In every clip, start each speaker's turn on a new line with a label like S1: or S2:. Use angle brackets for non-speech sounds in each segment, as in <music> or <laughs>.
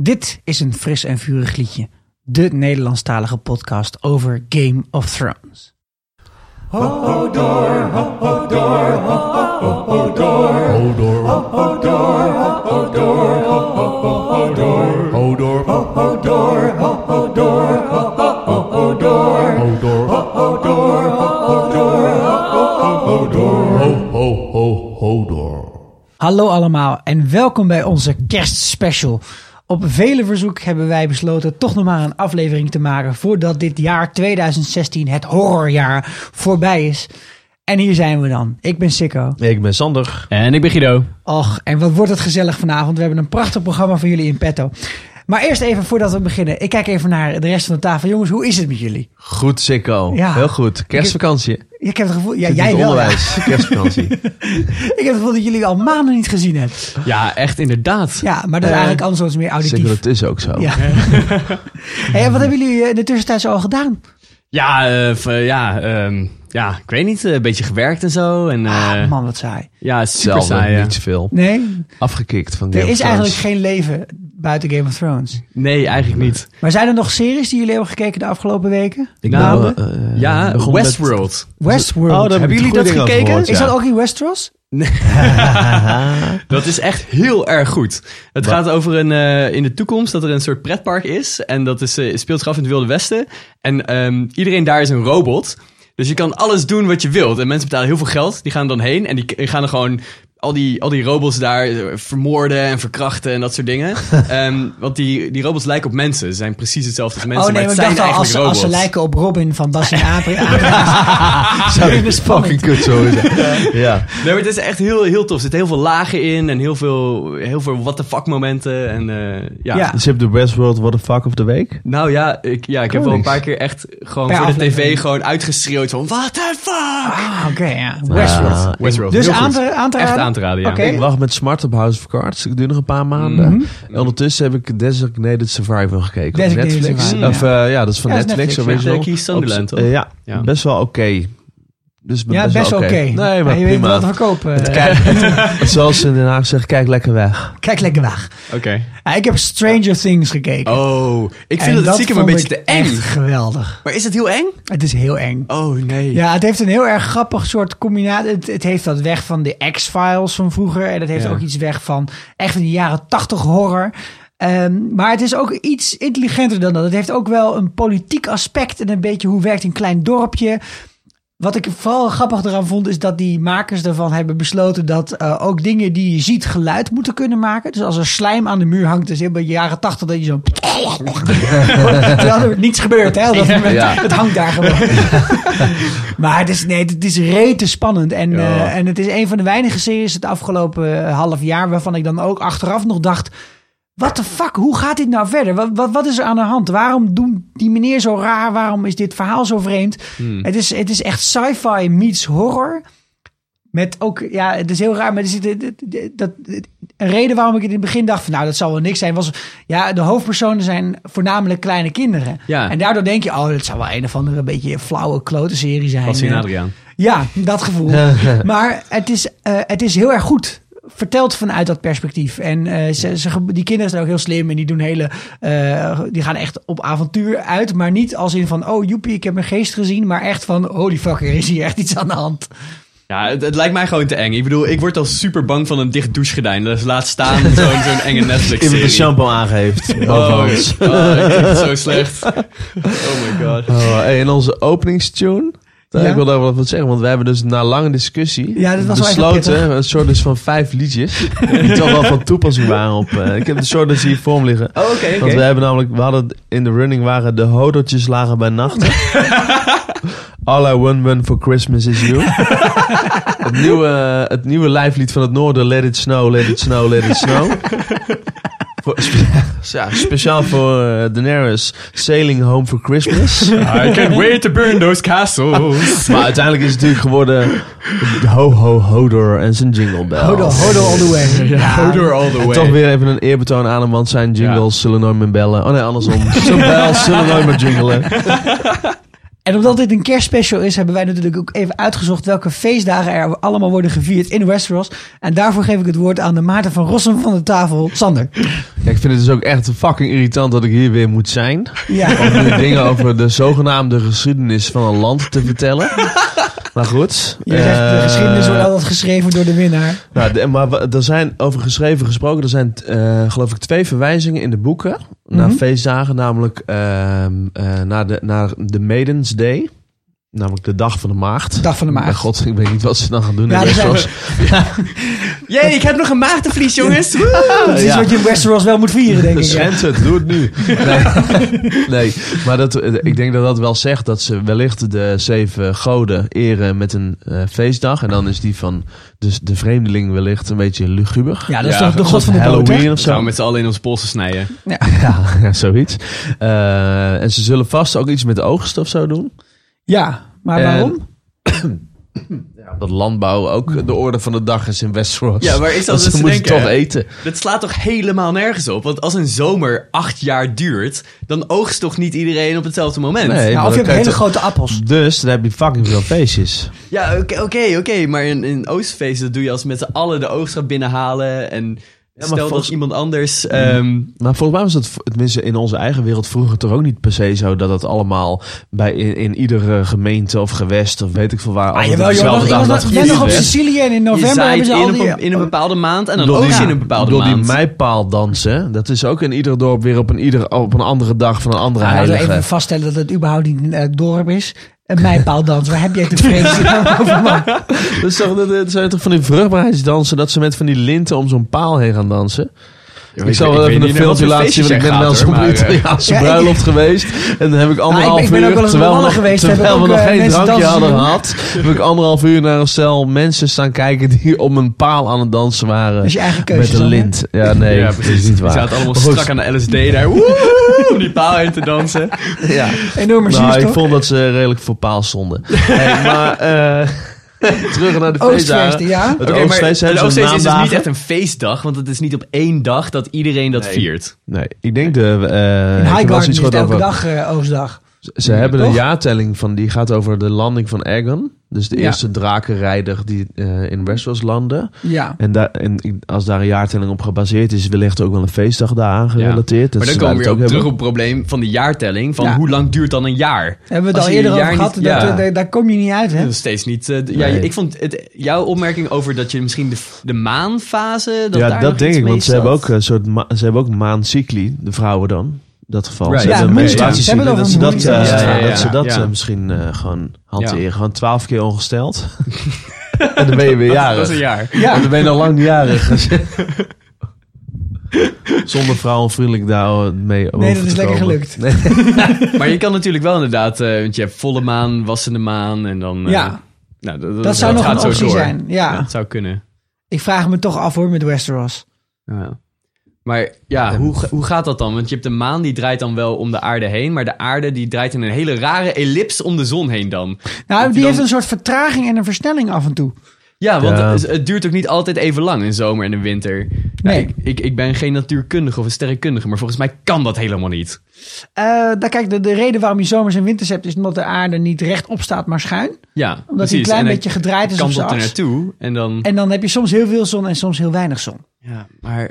S1: Dit is een fris en vurig liedje. De Nederlandstalige podcast over Game of Thrones.
S2: Hodor. Hodor. Hodor. Hodor. Ho, ho, ho, Hodor.
S1: Hallo allemaal en welkom bij onze kerstspecial. Op vele verzoek hebben wij besloten toch nog maar een aflevering te maken voordat dit jaar 2016, het horrorjaar, voorbij is. En hier zijn we dan. Ik ben Sikko.
S3: Ik ben Sander.
S4: En ik ben Guido.
S1: Och, en wat wordt het gezellig vanavond. We hebben een prachtig programma voor jullie in petto. Maar eerst even voordat we beginnen. Ik kijk even naar de rest van de tafel. Jongens, hoe is het met jullie?
S3: Goed, Sikko.
S1: Ja.
S3: Heel goed. Kerstvakantie.
S1: Ik heb het gevoel... Ja,
S3: Zit in
S1: jij
S3: het
S1: wel. ja.
S3: onderwijs.
S1: <laughs>
S3: Kerstvakantie.
S1: Ik heb het gevoel dat jullie al maanden niet gezien hebben.
S4: Ja, echt inderdaad.
S1: Ja, maar dat is
S3: Eh,
S1: eigenlijk andersom meer
S3: Sikko,
S1: auditief.
S3: dat is ook zo.
S1: Ja. <laughs> hey, en wat hebben jullie eh, in de tussentijd zo al gedaan?
S4: Ja, eh, v- ja, ehm, ja, ik weet niet. eh, Een beetje gewerkt en zo. En, eh,
S1: ah, man, wat saai.
S4: ja, super
S3: Zelden,
S4: saai. ja.
S3: niet zoveel.
S1: Nee,
S3: Afgekikt van Game
S1: er
S3: of
S1: is
S3: Thrones.
S1: eigenlijk
S3: <laughs>
S1: geen leven buiten Game of Thrones.
S4: Nee, eigenlijk niet.
S1: Maar zijn er nog series die jullie hebben gekeken de afgelopen weken?
S3: Ik
S4: Nou,
S3: ben wel, eh,
S4: Ja,
S3: begonnen met-
S4: Westworld.
S1: Westworld.
S3: heb
S4: Hebben
S3: ik
S4: jullie
S3: goede
S4: dat
S3: dingen over
S4: gekeken?
S3: gehoord,
S1: is
S3: ja.
S1: dat ook in Westeros?
S4: Dat is echt heel erg goed. Het
S3: Wat?
S4: gaat over een, eh, in de toekomst dat er een soort pretpark is. En dat is, eh, speelt zich af in het Wilde Westen. En ehm, iedereen daar is een robot. Dus je kan alles doen wat je wilt. En mensen betalen heel veel geld. Die gaan dan heen en die k- gaan dan gewoon al die, al die robots daar eh, vermoorden en verkrachten en dat soort
S1: <laughs>
S4: dingen. Ehm, want die, die robots lijken op mensen. Ze zijn precies hetzelfde als mensen,
S1: oh nee,
S4: maar
S1: maar
S4: het
S1: ik
S4: zijn
S1: dacht al, als
S4: eigenlijk
S1: ze, als
S4: robots.
S1: ze lijken op Robin van
S3: <laughs>
S1: Bas en Ah, Apri. <laughs> Zou
S3: Zou ik fucking kut zo zijn.
S1: <laughs>
S3: ja.
S4: Nee, maar het is echt heel, heel tof. Er zitten heel veel lagen in en heel veel, heel veel what the fuck momenten. En, eh,
S1: Ja.
S3: Dus je hebt de Westworld What the Fuck of the Week.
S4: Nou ja, ik, ja, ik heb
S3: Cool.
S4: wel een paar keer echt gewoon
S1: Per
S4: voor de
S1: aflevering.
S4: tv gewoon uitgeschreeuwd van what the fuck!
S1: Ah, oké, ja. Westworld.
S3: Ah,
S4: Westworld,
S1: dus
S4: heel goed.
S1: aan te, aan te
S4: Echt
S1: raden?
S4: aan te raden, ja.
S1: Oké.
S3: Ik wacht met Smart op House of Cards. Ik doe nog een paar maanden.
S1: Mhm.
S3: En ondertussen heb ik Designated Survival gekeken. op
S1: Designated
S3: Netflix.
S1: Survivor,
S3: Of, eh, ja, dat is van
S1: Ja, dat is
S3: Netflix.
S1: Netflix,
S3: original.
S4: ja. Met, eh, Keith Sunderland,
S3: Op- eh, ja,
S4: Ja.
S3: best wel oké. Dus
S1: Ja, best wel oké.
S3: Nee, maar
S1: je weet wel
S3: prima.
S1: te verkopen. eh. <laughs>
S3: Zoals ze in Den Haag zeggen, kijk lekker weg.
S1: Kijk lekker weg.
S4: Oké.
S1: Ah, ik heb Stranger Things gekeken.
S4: Oh, ik
S1: En
S4: vind dat het stiekem een
S1: vond
S4: beetje
S1: ik
S4: te eng.
S1: Echt geweldig.
S4: Maar is het heel eng?
S1: Het is heel eng.
S4: Oh nee.
S1: Ja, het heeft een heel erg grappig soort combinatie. Het, het heeft dat weg van de X-Files van vroeger. En het heeft
S4: Ja.
S1: ook iets weg van echt in de jaren tachtig horror. Ehm, maar het is ook iets intelligenter dan dat. Het heeft ook wel een politiek aspect en een beetje hoe werkt een klein dorpje. Wat ik vooral grappig eraan vond, is dat die makers daarvan hebben besloten dat eh, ook dingen die je ziet geluid moeten kunnen maken. Dus als er slijm aan de muur hangt, dus is in de jaren tachtig dat je
S3: <laughs>
S1: zo... <laughs> Terwijl er niets gebeurt, hè? op Dat moment.
S3: Ja.
S1: Het hangt daar gewoon. maar het is, nee, het is rete spannend. En, eh, en het is een van de weinige series het afgelopen eh, half jaar waarvan ik dan ook achteraf nog dacht... What the fuck? Hoe gaat dit nou verder? Wat, wat, wat is er aan de hand? Waarom doen die meneer zo raar? Waarom is dit verhaal zo vreemd? Het, is, het is echt sci-fi meets horror. Met ook, ja, het is heel raar, maar er zit, dat, dat, een reden waarom ik het in het begin dacht van, nou, dat zal wel niks zijn, was, ja, de hoofdpersonen zijn voornamelijk kleine kinderen.
S4: Ja.
S1: En daardoor denk je, oh, dat zou wel een of andere beetje flauwe klote serie zijn.
S4: Passie en
S1: Eh,
S4: Adriaan.
S1: ja, dat gevoel. <laughs> maar het is, eh, het is heel erg goed verteld vanuit dat perspectief. En eh, ze, ze, ge- die kinderen zijn ook heel slim en die doen hele... eh, die gaan echt op avontuur uit, maar niet als in van... oh, joepie, ik heb een geest gezien, maar echt van... holy fuck, er is hier echt iets aan de hand.
S4: Ja, het, het lijkt mij gewoon te eng. Ik bedoel, ik word al super bang van een dicht douchegordijn. Dus
S1: <laughs>
S4: laat staan zo'n zo'n enge
S3: Iemand de
S4: Netflix-serie.
S3: shampoo <laughs> aangeeft.
S4: Oh,
S3: boven ons.
S4: oh, ik vind het zo slecht. Oh my god.
S3: Oh, hey, en onze openingstune. Daar
S1: Ja.
S3: Ik wil daar wel wat zeggen, want we hebben dus na lange discussie
S1: Ja, dit was wel echt
S3: besloten,
S1: pittig.
S3: een soort dus van vijf liedjes, die toch wel van toepassing waren op... eh, ik heb de soort dus hier voor me liggen.
S4: Oh, oké, oké.
S3: Want we hebben namelijk, we hadden in de running waren de hodeltjes lagen bij
S1: <laughs>
S3: nachten. All I want One for Christmas is you. het, nieuwe, het nieuwe lijflied van het noorden, Let It Snow, Let It Snow, Let It Snow.
S4: <laughs>
S3: Voor- spe- ja, speciaal voor eh, Daenerys, Sailing Home for
S4: <laughs>
S3: Christmas.
S4: I can't wait to burn those castles.
S3: Maar uiteindelijk is het natuurlijk geworden Ho Ho Hodor en zijn jingle bell.
S1: Hodel, hodel all the
S3: <laughs>
S1: way.
S4: Hodor all the way.
S3: Toch weer even een eerbetoon aan hem, want
S4: <laughs>
S3: zijn jingles zullen nooit meer bellen. Oh nee, andersom. Zijn bells zullen nooit meer jingelen.
S1: En omdat dit een kerstspecial is, hebben wij natuurlijk ook even uitgezocht welke feestdagen er allemaal worden gevierd in Westeros. En daarvoor geef ik het woord aan de Maarten van Rossum van de tafel, Sander.
S3: Ja, ik vind het dus ook echt fucking irritant dat ik hier weer moet zijn.
S1: Ja,
S3: Om nu dingen over de zogenaamde geschiedenis van een land te
S1: <laughs>
S3: vertellen. Maar goed.
S1: je zegt de
S3: eh,
S1: geschiedenis wordt altijd geschreven door de winnaar.
S3: Nou, de- maar wa- er zijn over geschreven gesproken, er zijn eh, geloof ik twee verwijzingen in de boeken naar
S1: Mhm.
S3: feestdagen, namelijk ehm, eh, naar, de, naar de Maidens Day, namelijk de dag van de maagd.
S1: Dag van de
S3: Mijn
S1: maag.
S3: god, ik weet niet wat ze dan gaan doen.
S1: Ja,
S3: in
S1: er zijn-
S3: Westeros.
S4: Jee, ik heb nog een maagdenvlies, jongens.
S1: Dat is iets
S3: ja.
S1: wat je in Westeros wel moet vieren, denk ik. ja.
S3: Schend het, doe het nu.
S1: <laughs>
S3: Nee, nee. maar dat, eh, ik denk dat dat wel zegt dat ze wellicht de zeven goden eren met een eh, feestdag. En dan is die van dus de vreemdeling wellicht een beetje luguber.
S1: Ja, dat is
S4: Ja,
S1: toch de
S4: een
S1: god van de dood, hè?
S3: Halloween of
S4: Zo
S3: zo.
S4: met z'n allen in onze polsen snijden.
S3: Ja, <laughs> ja, zoiets. Eh, en ze zullen vast ook iets met oogst of zo doen.
S1: Ja, maar
S3: En-
S1: waarom?
S3: <coughs> Ja, dat landbouw ook de orde van de dag is in Westeros.
S4: Ja, maar is
S3: <laughs>
S4: dat
S3: Want
S4: dus
S3: ze
S4: te
S3: moeten
S4: denken,
S3: toch
S4: hè?
S3: eten.
S4: Dat slaat toch helemaal nergens op? Want als een zomer acht jaar duurt, dan oogst toch niet iedereen op hetzelfde moment?
S3: Nee.
S1: Nou,
S3: maar
S1: of je hebt
S3: dan kan je
S1: hele grote
S3: toch-
S1: appels.
S3: Dus dan heb je fucking veel feestjes.
S4: Ja, oké, oké, oké. Maar in, in oogstfeest, dat doe je als met z'n allen de oogst gaat binnenhalen. En stel
S3: volgens- Mm.
S4: dat iemand anders... ehm,
S3: Maar volgens mij was het, v- tenminste in onze eigen wereld vroeger toch ook niet per se zo dat het allemaal bij, in, in iedere gemeente of gewest of weet ik veel waar.
S1: Ah,
S3: altijd op
S1: jawel, joh.
S3: dezelfde
S1: was-
S3: dag
S1: was-
S3: dat
S1: jij
S3: feest
S1: nog op
S3: werd.
S1: Sicilië en in
S4: je
S1: november hebben
S4: zaait
S1: ze al
S4: in,
S1: die...
S4: op een- in een bepaalde maand en dan
S3: Door die-
S4: oogst je in een bepaalde
S3: door
S4: maand.
S3: die mijpaal dansen, dat is ook in ieder dorp weer op een, ieder, op een andere dag van een andere
S1: Nou, laten we
S3: heilige.
S1: even vaststellen dat het überhaupt niet een eh, dorp is. Een mijpaaldans, waar heb jij het
S3: <laughs>
S1: vrees over, man?
S3: Dat, is toch, dat, dat zijn toch van die vruchtbaarheidsdansen dat ze met van die linten om zo'n paal heen gaan dansen?
S4: Ja,
S3: ik zal wel
S4: weet
S3: even een
S4: niet naar wat
S3: filmpje
S4: voor
S3: laten zien,
S4: feestjes
S3: want ik
S4: jij
S3: ben wel
S4: gaat,
S3: eens op
S4: hoor,
S3: een
S4: maar, eh,
S3: Italiaanse
S1: Ja, ik-
S3: bruilt geweest. En dan heb ik anderhalf
S1: Nou, ik ben
S3: uur,
S1: ook wel eens op
S3: terwijl,
S1: Wallen
S3: nog-
S1: geweest, daar heb
S3: terwijl
S1: ik
S3: we
S1: ook,
S3: nog
S1: eh,
S3: geen
S1: mensen
S3: drankje
S1: dansen
S3: hadden
S1: zien doen.
S3: gehad, heb ik anderhalf uur naar een stel mensen staan kijken die om een paal aan het dansen waren.
S1: Dat is je eigen keuze.
S3: Met een
S1: Sander.
S3: lint. Ja, nee,
S4: ja,
S3: dat is
S4: precies.
S3: niet
S4: Die
S3: waar.
S4: zaten allemaal
S3: Maar goed,
S4: strak aan de
S3: <laughs>
S4: LSD daar. woe, om die paal in te dansen.
S3: Ja.
S1: Enorme
S3: Nou, ik
S1: zuurstof.
S3: vond dat ze redelijk voor paal stonden. Hey, maar eh, <laughs> terug naar de
S1: Oostfeesten,
S3: feestdagen.
S1: ja.
S3: Het
S4: Oké, maar
S3: oogstfeest
S4: een
S3: hebben ze
S4: oogstfeest is dus
S3: maandagen.
S4: niet echt een feestdag, want het is niet op één dag dat iedereen dat viert.
S3: Nee, ik denk de... eh,
S1: In
S3: ik heb wel
S1: Highgarden
S3: eens iets
S1: is het
S3: gehoord
S1: elke
S3: over-
S1: dag eh, Oostdag.
S3: Ze hebben een
S1: Toch?
S3: jaartelling van, die gaat over de landing van Aegon. Dus de
S1: Ja.
S3: eerste drakenrijder die eh, in Westeros landde.
S1: Ja.
S3: En, daar, en ik- als daar een jaartelling op gebaseerd is, wellicht ook wel een feestdag daaraan gerelateerd. dus
S4: Maar dan
S3: ze daar
S4: komen we weer op
S3: het
S4: terug
S3: hebben.
S4: op het probleem van de jaartelling. Van
S1: Ja.
S4: hoe lang duurt dan een jaar?
S1: Hebben we
S4: Als
S1: het al
S4: je
S1: eerder
S4: een
S1: over
S4: jaar
S1: gehad.
S4: niet-
S1: dat,
S4: ja.
S1: eh, daar, daar kom je niet uit, hè?
S4: Dat is steeds niet. eh, d- ja,
S3: Nee.
S4: ik vond het, jouw opmerking over dat je misschien de, f- de maanfase. Dat
S3: Ja,
S4: daar nog
S3: dat denk
S4: iets
S3: ik,
S4: mee
S3: want ze hebben
S4: zat.
S3: ook eh, een soort ma- ze hebben ook maancycli, de vrouwen dan. in Dat geval.
S4: Right.
S3: Ze
S4: Ja,
S3: hebben
S4: moon-
S3: menstruatiecycli,
S1: ze hebben het
S3: dat ze
S1: over
S3: dat,
S1: moon-
S3: eh,
S4: Ja, ja, ja,
S3: dat, ze dat
S4: ja.
S3: eh, misschien eh, gewoon hanteren. Gewoon twaalf keer
S4: <laughs>
S3: ongesteld. en dan ben je weer jarig.
S4: Dat is een jaar. <laughs>
S1: Ja.
S3: En dan ben je al lang niet jarig. dus- Zonder vrouwenvriendelijk daar mee over
S1: Nee, dat is
S3: te
S1: lekker
S3: komen.
S1: gelukt.
S3: Nee.
S4: Maar je kan natuurlijk wel inderdaad. eh, want je hebt volle maan, wassende maan. En dan. eh,
S1: Ja.
S4: nou, d- d-
S1: Dat zou nog
S4: gaat
S1: een
S4: zo
S1: optie
S4: door.
S1: zijn.
S4: Ja,
S1: Ja.
S4: het zou kunnen. Nou
S1: Ik vraag me toch af hoor met Westeros.
S4: Ja. Maar ja, hoe, ga- hoe gaat dat dan? Want je hebt de maan die draait dan wel om de aarde heen. Maar de aarde die draait in een hele rare ellips om de zon heen dan.
S1: Nou,
S4: je
S1: die
S4: dan-
S1: heeft een soort vertraging en een versnelling af en toe.
S4: Ja, want
S3: Ja.
S4: Het, het duurt ook niet altijd even lang in zomer en in winter. Ja,
S1: Nee.
S4: ik, ik, ik ben geen natuurkundige of een sterrenkundige, maar volgens mij kan dat helemaal niet.
S1: Eh daar, kijk, de, de reden waarom je zomers en winters hebt... is omdat de aarde niet rechtop staat, maar schuin.
S4: Ja,
S1: Omdat hij een klein beetje gedraaid is op
S4: kan
S1: zijn
S4: dat er
S1: as.
S4: naartoe en dan.
S1: En dan heb je soms heel veel zon en soms heel weinig zon.
S4: ja, maar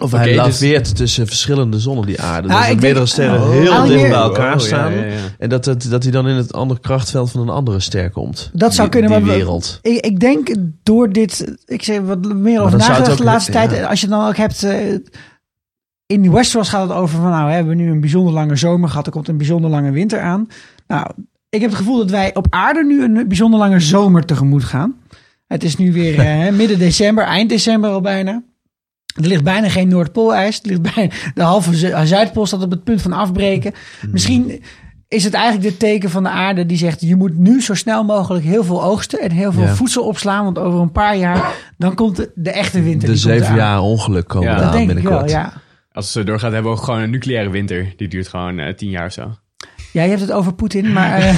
S3: Of
S4: Oké,
S3: hij
S4: dus-
S3: laveert tussen verschillende zonnen die aarde.
S1: Nou,
S3: dus dat
S1: ik
S3: meerdere
S1: denk-
S3: sterren
S1: Oh.
S3: heel
S1: Oh,
S3: dicht
S1: hier.
S3: bij elkaar
S4: Oh, ja,
S3: staan.
S4: ja, ja.
S3: En dat, dat, dat hij dan in het andere krachtveld van een andere ster komt.
S1: Dat zou
S3: Die-
S1: kunnen,
S3: die
S1: maar we-
S3: wereld.
S1: Ik, ik denk door dit, ik zeg wat meer over
S3: dan zou het
S1: nagedacht de
S3: ook-
S1: laatste
S3: ja.
S1: tijd. Als je het dan ook hebt, eh, in Westeros gaat het over van nou, we hebben nu een bijzonder lange zomer gehad. Er komt een bijzonder lange winter aan. Nou, ik heb het gevoel dat wij op aarde nu een bijzonder lange zomer tegemoet gaan. Het is nu weer eh, midden december, eind december al bijna. Er ligt bijna geen Noordpoolijs. Er ligt bijna, de halve Zu- eh, Zuidpool staat op het punt van afbreken.
S3: Hmm.
S1: Misschien is het eigenlijk dit teken van de aarde die zegt... je moet nu zo snel mogelijk heel veel oogsten en heel veel
S3: Ja.
S1: voedsel opslaan. Want over een paar jaar, dan komt de, de echte winter.
S3: De
S1: die komt
S3: zeven
S1: eraan.
S3: jaar ongeluk komen
S4: Ja.
S3: ja.
S4: Dat
S1: Dat
S3: eraan
S1: denk ik wel,
S3: binnenkort.
S1: ja.
S4: als het zo doorgaat, hebben we ook gewoon een nucleaire winter. Die eh, duurt gewoon tien jaar of zo.
S3: <laughs>
S1: Ja, je hebt het over Poetin, maar... eh,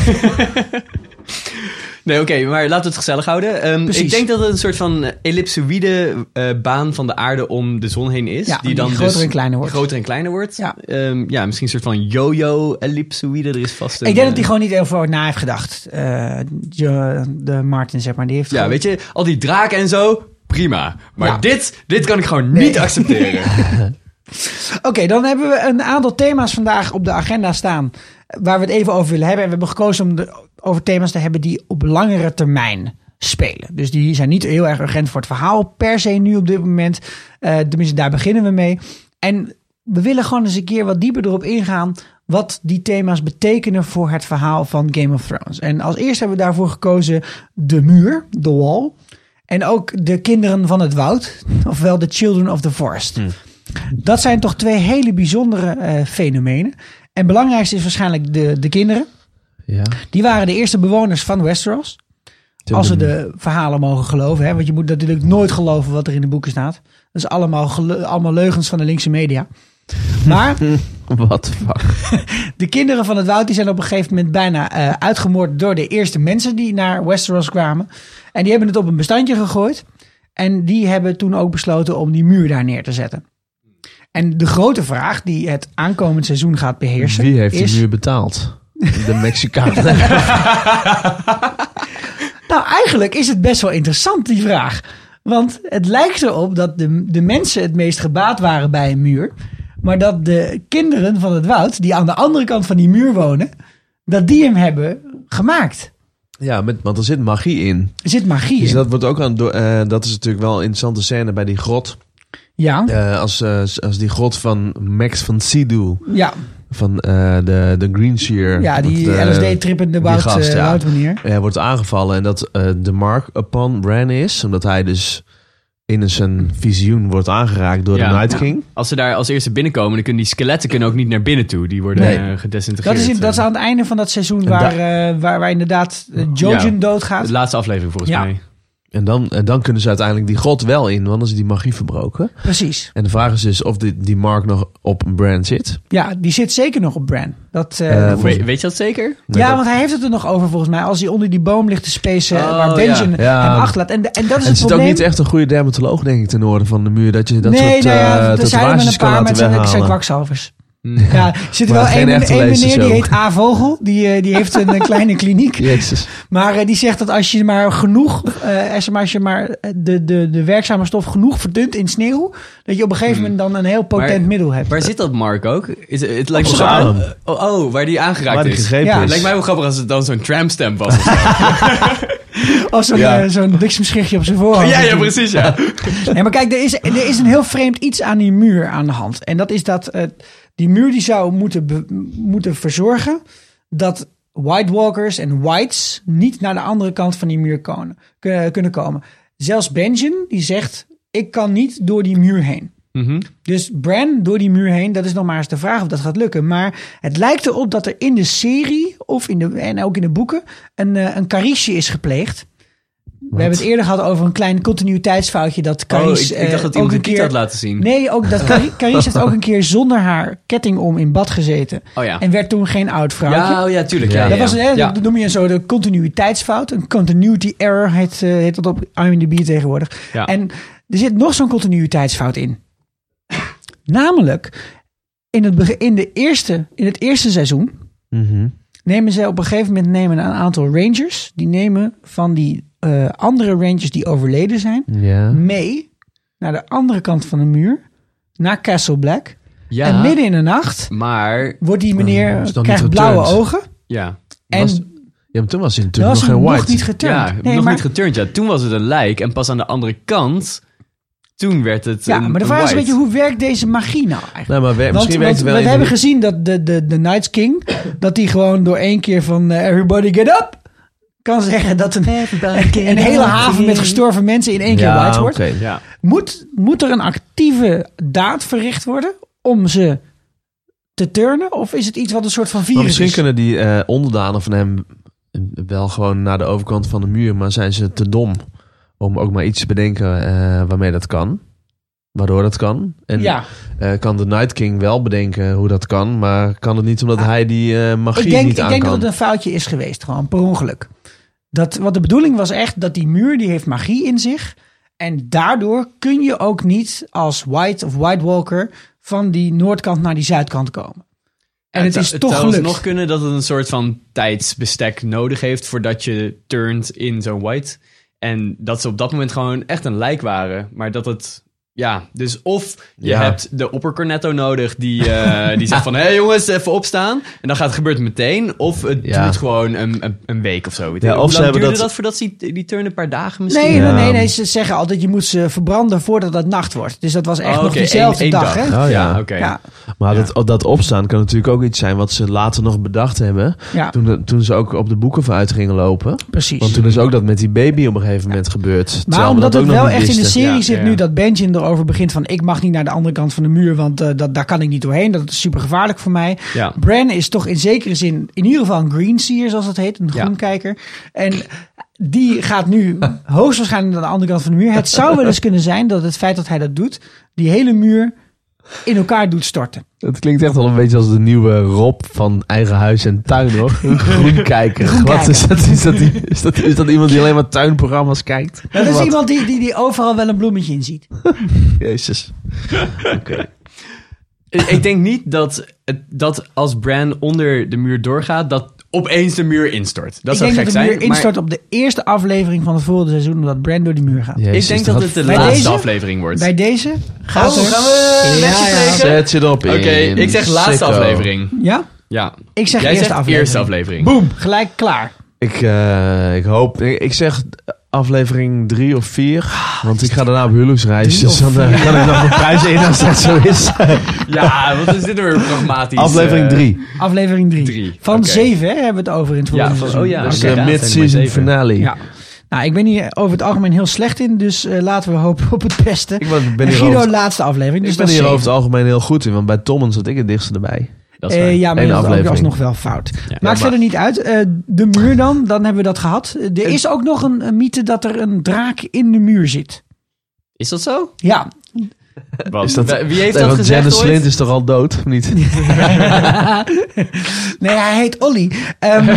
S4: Nee, oké, maar laten we het gezellig houden. Ehm,
S1: Precies.
S4: ik denk dat het een soort van eh, ellipsoïde eh, baan van de aarde om de zon heen is. dus
S1: Ja, die groter en kleiner wordt.
S4: groter en kleiner wordt.
S1: Ja.
S4: Ehm, ja misschien een soort van yo-yo-ellipsoïde. Er is vast een...
S1: Ik denk dat hij
S4: eh,
S1: gewoon niet heel veel over na heeft gedacht. Eh, Jo- de Martin, zeg maar. Die heeft
S4: Ja,
S1: gewoon-
S4: weet je, al die draken en zo, prima. Maar
S1: Ja.
S4: dit, dit kan ik gewoon niet accepteren.
S1: <laughs> Oké, dan hebben we een aantal thema's vandaag op de agenda staan. eh, Waar we het even over willen hebben. En we hebben gekozen om de, over thema's te hebben die op langere termijn spelen. Dus die zijn niet heel erg urgent voor het verhaal per se nu op dit moment. Eh, tenminste, daar beginnen we mee. En we willen gewoon eens een keer wat dieper erop ingaan. Wat die thema's betekenen voor het verhaal van Game of Thrones. En als eerste hebben we daarvoor gekozen de muur, de wall. En ook de kinderen van het woud. <laughs> Ofwel de children of the forest. Dat zijn toch twee hele bijzondere eh, fenomenen. En belangrijkste is waarschijnlijk de, de kinderen.
S3: Ja.
S1: Die waren de eerste bewoners van Westeros. Als we de verhalen mogen geloven. Hè? Want je moet natuurlijk nooit geloven wat er in de boeken staat. Dat is allemaal, gele- allemaal leugens van de linkse media. Maar
S3: <laughs> Wat fuck.
S1: de kinderen van het woud die zijn op een gegeven moment bijna eh, uitgemoord door de eerste mensen die naar Westeros kwamen. En die hebben het op een bestandje gegooid. En die hebben toen ook besloten om die muur daar neer te zetten. En de grote vraag die het aankomend seizoen gaat beheersen
S3: Wie heeft
S1: is...
S3: die muur betaald? De
S1: <laughs>
S3: Mexicanen.
S1: Nou, eigenlijk is het best wel interessant, die vraag. Want het lijkt erop dat de, de mensen het meest gebaat waren bij een muur. Maar dat de kinderen van het woud, die aan de andere kant van die muur wonen, dat die hem hebben gemaakt.
S3: ja, met, want er zit magie in.
S1: Er zit magie
S3: Dus
S1: in.
S3: dat wordt ook aan. do- eh, dat is natuurlijk wel een interessante scène bij die grot.
S1: Ja,
S3: Eh, als, eh, als die grot van Max van Sydow.
S1: ja,
S3: Van eh, de, de Greenshear.
S1: ja, die
S3: Dat, eh,
S1: LSD-trippende
S3: die
S1: woud,
S3: gast,
S1: eh,
S3: ja.
S1: woudmeneer.
S3: eh, wordt aangevallen en dat eh, de mark upon Bran is. Omdat hij dus in zijn visioen wordt aangeraakt door de
S4: Ja.
S3: Night King.
S4: Als ze daar als eerste binnenkomen, dan kunnen die skeletten kunnen ook niet naar binnen toe. Die worden
S3: Nee.
S4: eh, gedesintegreerd.
S1: Dat is, in- dat is aan het einde van dat seizoen waar, eh, waar, waar inderdaad eh, Jojen
S4: Ja.
S1: doodgaat.
S4: De laatste aflevering volgens
S1: Ja.
S4: mij.
S3: En dan, en dan kunnen ze uiteindelijk die god wel in, want dan is die magie verbroken.
S1: Precies.
S3: En de vraag is dus of die, die mark nog op een brand zit.
S1: Ja, die zit zeker nog op Bran. Dat, eh,
S3: Eh,
S1: dat
S3: Volgens-
S4: We- weet je dat zeker?
S1: ja,
S3: Nou, dat-
S1: want hij heeft het er nog over volgens mij. Als hij onder die boom ligt te spacen
S4: Oh,
S1: waar Benjen
S4: ja.
S3: Ja.
S1: hem achterlaat. En, de- en dat is
S3: En
S1: het
S3: er zit ook
S1: probleem.
S3: niet echt een goede dermatoloog, denk ik, ten noorden van de muur. Dat je dat
S1: nee,
S3: soort
S1: nou ja,
S3: eh,
S1: er zijn er met een
S3: tatoeages kan
S1: paar
S3: laten
S1: met zijn, zijn
S3: weghalen. <laughs>
S1: kwakzalvers. Ja, er zit
S3: Maar
S1: wel
S3: geen
S1: één één
S3: echte lezers
S1: meneer die
S3: ook.
S1: heet A. Vogel. Die, eh, die heeft een eh, kleine
S3: <laughs>
S1: kliniek.
S3: Jezus.
S1: Maar eh, die zegt dat als je maar genoeg, eh, als je maar- als je maar eh, de, de, de werkzame stof genoeg verdunt in sneeuw, dat je op een gegeven moment dan een heel potent
S4: Hmm. Maar-
S1: middel hebt.
S4: Waar zit dat Mark ook? Is, het lijkt
S3: Op
S4: me
S3: zijn
S4: zo-
S3: arm.
S4: Oh, oh, waar die aangeraakt
S3: Waar die
S4: is.
S3: gegrepen
S1: Ja.
S3: is.
S4: Het lijkt mij wel grappig als het dan zo'n tramstamp
S1: <laughs>
S4: was. Oh,
S1: Of zo'n
S3: Ja.
S1: eh, zo'n bliksemschichtje op zijn voorhoofd.
S4: Oh, ja, ja, precies, ja. Oh,
S1: Nee, maar kijk, er is, er is een heel vreemd iets aan die muur aan de hand. En dat is dat eh, die muur die zou moeten, be- moeten verzorgen dat White Walkers en Whites niet naar de andere kant van die muur konen- kun- kunnen komen. Zelfs Benjen die zegt, ik kan niet door die muur heen.
S4: Mhm.
S1: Dus Bran door die muur heen, dat is nog maar eens de vraag of dat gaat lukken. Maar het lijkt erop dat er in de serie of in de, en ook in de boeken een, eh, een Karisje is gepleegd. We hebben het eerder gehad over een klein continuïteitsfoutje dat
S4: Oh,
S1: Carice
S4: ik, ik
S1: eh,
S4: dacht dat
S1: ook
S4: iemand
S1: een
S4: een kiet
S1: keer
S4: had laten zien.
S1: Nee, ook dat
S4: <laughs>
S1: Cari- Carice heeft ook een keer zonder haar ketting om in bad gezeten.
S4: Oh ja.
S1: En werd toen geen oud vrouwtje.
S4: Ja, oh, ja, tuurlijk. Ja,
S3: Ja,
S4: ja,
S1: dat, was,
S4: ja.
S1: hè,
S4: Ja.
S1: dat noem je zo de continuïteitsfout. Een continuity error heet, eh, heet dat op IMDb tegenwoordig.
S4: Ja.
S1: En er zit nog zo'n continuïteitsfout in. Namelijk, in het, beg- in, de eerste, in het eerste seizoen
S3: Mhm.
S1: nemen ze op een gegeven moment nemen een aantal rangers. Die nemen van die eh, andere rangers die overleden zijn
S3: Ja.
S1: mee naar de andere kant van de muur. Naar Castle Black.
S4: Ja,
S1: En midden in de nacht
S4: maar...
S1: wordt die
S3: Mm, is
S1: meneer
S3: nog niet
S1: krijgt blauwe
S3: geturnd.
S1: ogen.
S4: Ja.
S1: En
S3: Was- ja, maar toen was
S1: dan
S3: hij natuurlijk
S1: was
S3: nog
S1: hij
S3: geen
S1: nog
S3: white.
S1: niet geturnd.
S4: Ja,
S1: Nee,
S4: nog
S1: maar-
S4: niet geturnd. Ja, toen was het een lijk. En pas aan de andere kant, toen werd het
S1: Ja,
S4: een-
S1: maar de
S4: een
S1: vraag is een
S4: white.
S1: beetje hoe werkt deze magie nou eigenlijk?
S3: Nee, maar we-
S1: want
S3: misschien
S1: want
S3: werkt het wel
S1: we
S3: in
S1: hebben
S3: de-
S1: gezien dat de, de, de Night's King, dat die gewoon door één keer van eh, everybody get up, kan zeggen dat een, een, hele haven met gestorven mensen in één keer white wordt.
S3: oké.
S4: Ja.
S1: Moet, moet er een actieve daad verricht worden om ze te turnen? Of is het iets wat een soort van
S3: Maar
S1: virus
S3: misschien
S1: is?
S3: kunnen die eh, onderdanen van hem wel gewoon naar de overkant van de muur, maar zijn ze te dom om ook maar iets te bedenken eh, waarmee dat kan. Waardoor dat kan. En
S1: Ja,
S3: eh, kan de Night King wel bedenken hoe dat kan, maar kan het niet omdat hij die eh, magie
S1: Ah, ik denk,
S3: niet
S1: ik
S3: aan
S1: denk dat
S3: kan.
S1: het een foutje is geweest, gewoon per ongeluk. Dat, want de bedoeling was echt dat die muur, die heeft magie in zich. En daardoor kun je ook niet als White of White Walker van die noordkant naar die zuidkant komen. En het, is toch
S4: zou
S1: gelukt.
S4: nog kunnen dat het een soort van tijdsbestek nodig heeft voordat je turnt in zo'n white. En dat ze op dat moment gewoon echt een lijk waren. Maar dat het... Ja, dus of je
S3: Ja.
S4: hebt de oppercornetto nodig die, eh, die
S1: <laughs>
S4: zegt van... Hé hey jongens, even opstaan. En dan gaat het gebeurt het meteen. Of het
S3: Ja.
S4: duurt gewoon een, een, een week of zo. Weet
S3: Ja,
S4: ik.
S3: of
S4: Hoe
S3: ze
S4: lang
S3: hebben
S4: duurde
S3: dat-
S4: dat voordat ze die, die turn een paar dagen misschien?
S1: Nee,
S3: Ja.
S1: nee, nee, nee, ze zeggen altijd je moet ze verbranden voordat het nacht wordt. Dus dat was echt
S4: Oh,
S1: nog
S4: oké,
S1: diezelfde
S4: één- één
S1: dag, hè?
S3: Oh, ja.
S4: ja, oké.
S1: Ja,
S3: Maar dat, dat opstaan kan natuurlijk ook iets zijn wat ze later nog bedacht hebben.
S1: ja
S3: Toen, toen ze ook op de boeken vooruit gingen lopen.
S1: precies.
S3: Want toen is ook dat met die baby op een gegeven moment gebeurd.
S1: maar
S3: terwijl we
S1: omdat
S3: dat
S1: het
S3: ook nog
S1: wel
S3: niet
S1: echt in de
S3: wisten.
S1: serie
S4: Ja,
S1: zit
S4: ja.
S1: nu dat Benjen erover begint van ik mag niet naar de andere kant van de muur, want eh, dat, daar kan ik niet doorheen. Dat is super gevaarlijk voor mij.
S4: Ja.
S1: Bran is toch in zekere zin in ieder geval een greenseer, zoals dat heet, een
S4: Ja.
S1: groenkijker. En die gaat nu <laughs> hoogstwaarschijnlijk naar de andere kant van de muur. Het zou wel eens kunnen zijn dat het feit dat hij dat doet, die hele muur in elkaar doet storten.
S3: Het klinkt echt wel een beetje als de nieuwe Rob van Eigen Huis en Tuin,
S1: <laughs>
S3: hoor. Groenkijker. Wat is dat? Is dat, die- is, dat, is dat iemand die alleen maar tuinprogramma's kijkt?
S1: Dat is
S3: Wat?
S1: iemand die, die, die overal wel een bloemetje in ziet.
S3: Jezus.
S4: Ik ik denk niet dat, het- dat als Bran onder de muur doorgaat, dat opeens de muur instort. Dat
S1: ik denk
S4: zou
S1: dat
S4: gek
S1: de
S4: zijn.
S1: muur
S4: maar
S1: instort op de eerste aflevering van het volgende seizoen, omdat Brand door die muur gaat.
S3: Jezus,
S4: ik denk dat het de
S1: Bij
S4: laatste
S1: deze?
S4: aflevering wordt.
S1: Bij deze gaat
S4: Oh,
S1: er...
S4: gaan we
S1: ja,
S4: lesje
S1: ja.
S4: plegen?
S3: Zet je erop in.
S4: Oké, ik zeg laatste
S3: Sicko.
S4: aflevering.
S1: Ja?
S4: Ja.
S1: Ik zeg
S4: Jij
S1: eerste
S4: zegt
S1: aflevering.
S4: eerste aflevering.
S1: Boom, gelijk klaar.
S3: Ik, eh, ik hoop... Ik, ik zeg aflevering drie of vier.
S4: Ah,
S3: Want ik ga daarna op huwelijksreis.
S1: Drie
S3: Dus dan eh, kan ik nog een prijs in als dat zo
S4: <laughs>
S3: is.
S4: Ja, wat is dit weer <laughs> pragmatisch?
S3: aflevering
S4: eh,
S3: drie.
S1: Aflevering 3.
S4: Drie,
S1: Van
S4: oké.
S1: 7 hè, hebben we het over in het volgende
S4: Ja, van-
S1: seizoen.
S4: oh ja,
S3: Dus
S4: oké.
S3: de
S4: Ja, zijn
S3: mid-season
S4: maar zeven.
S3: finale.
S1: Ja. Nou, ik ben hier over het algemeen heel slecht in, dus eh, laten we hopen op het beste.
S3: Ik ben, ben
S1: En
S3: hier
S1: Guido,
S3: over,
S1: laatste aflevering. Dus
S3: ik ben
S1: dat is
S3: hier over
S1: zeven.
S3: het algemeen heel goed in. Want bij Tommen zat ik het dichtst erbij.
S4: Dat is waar.
S1: Eh, ja, maar
S3: Eén
S1: dat is ook
S3: aflevering.
S1: alsnog wel fout.
S4: Ja.
S1: Maakt
S3: Ja, maar-
S1: verder niet uit. Eh, de muur dan, dan hebben we dat gehad. Eh, Er is ook nog een, een mythe dat er een draak in de muur zit.
S4: Is dat zo?
S1: Ja,
S4: Wat?
S3: Is Dus dat-
S4: Wie heeft
S3: Nee,
S4: dat
S3: want
S4: gezegd
S3: Janice
S4: ooit?
S3: Slint is toch al dood, <laughs> of niet?
S1: nee, hij heet Olly. Ehm,
S3: <laughs>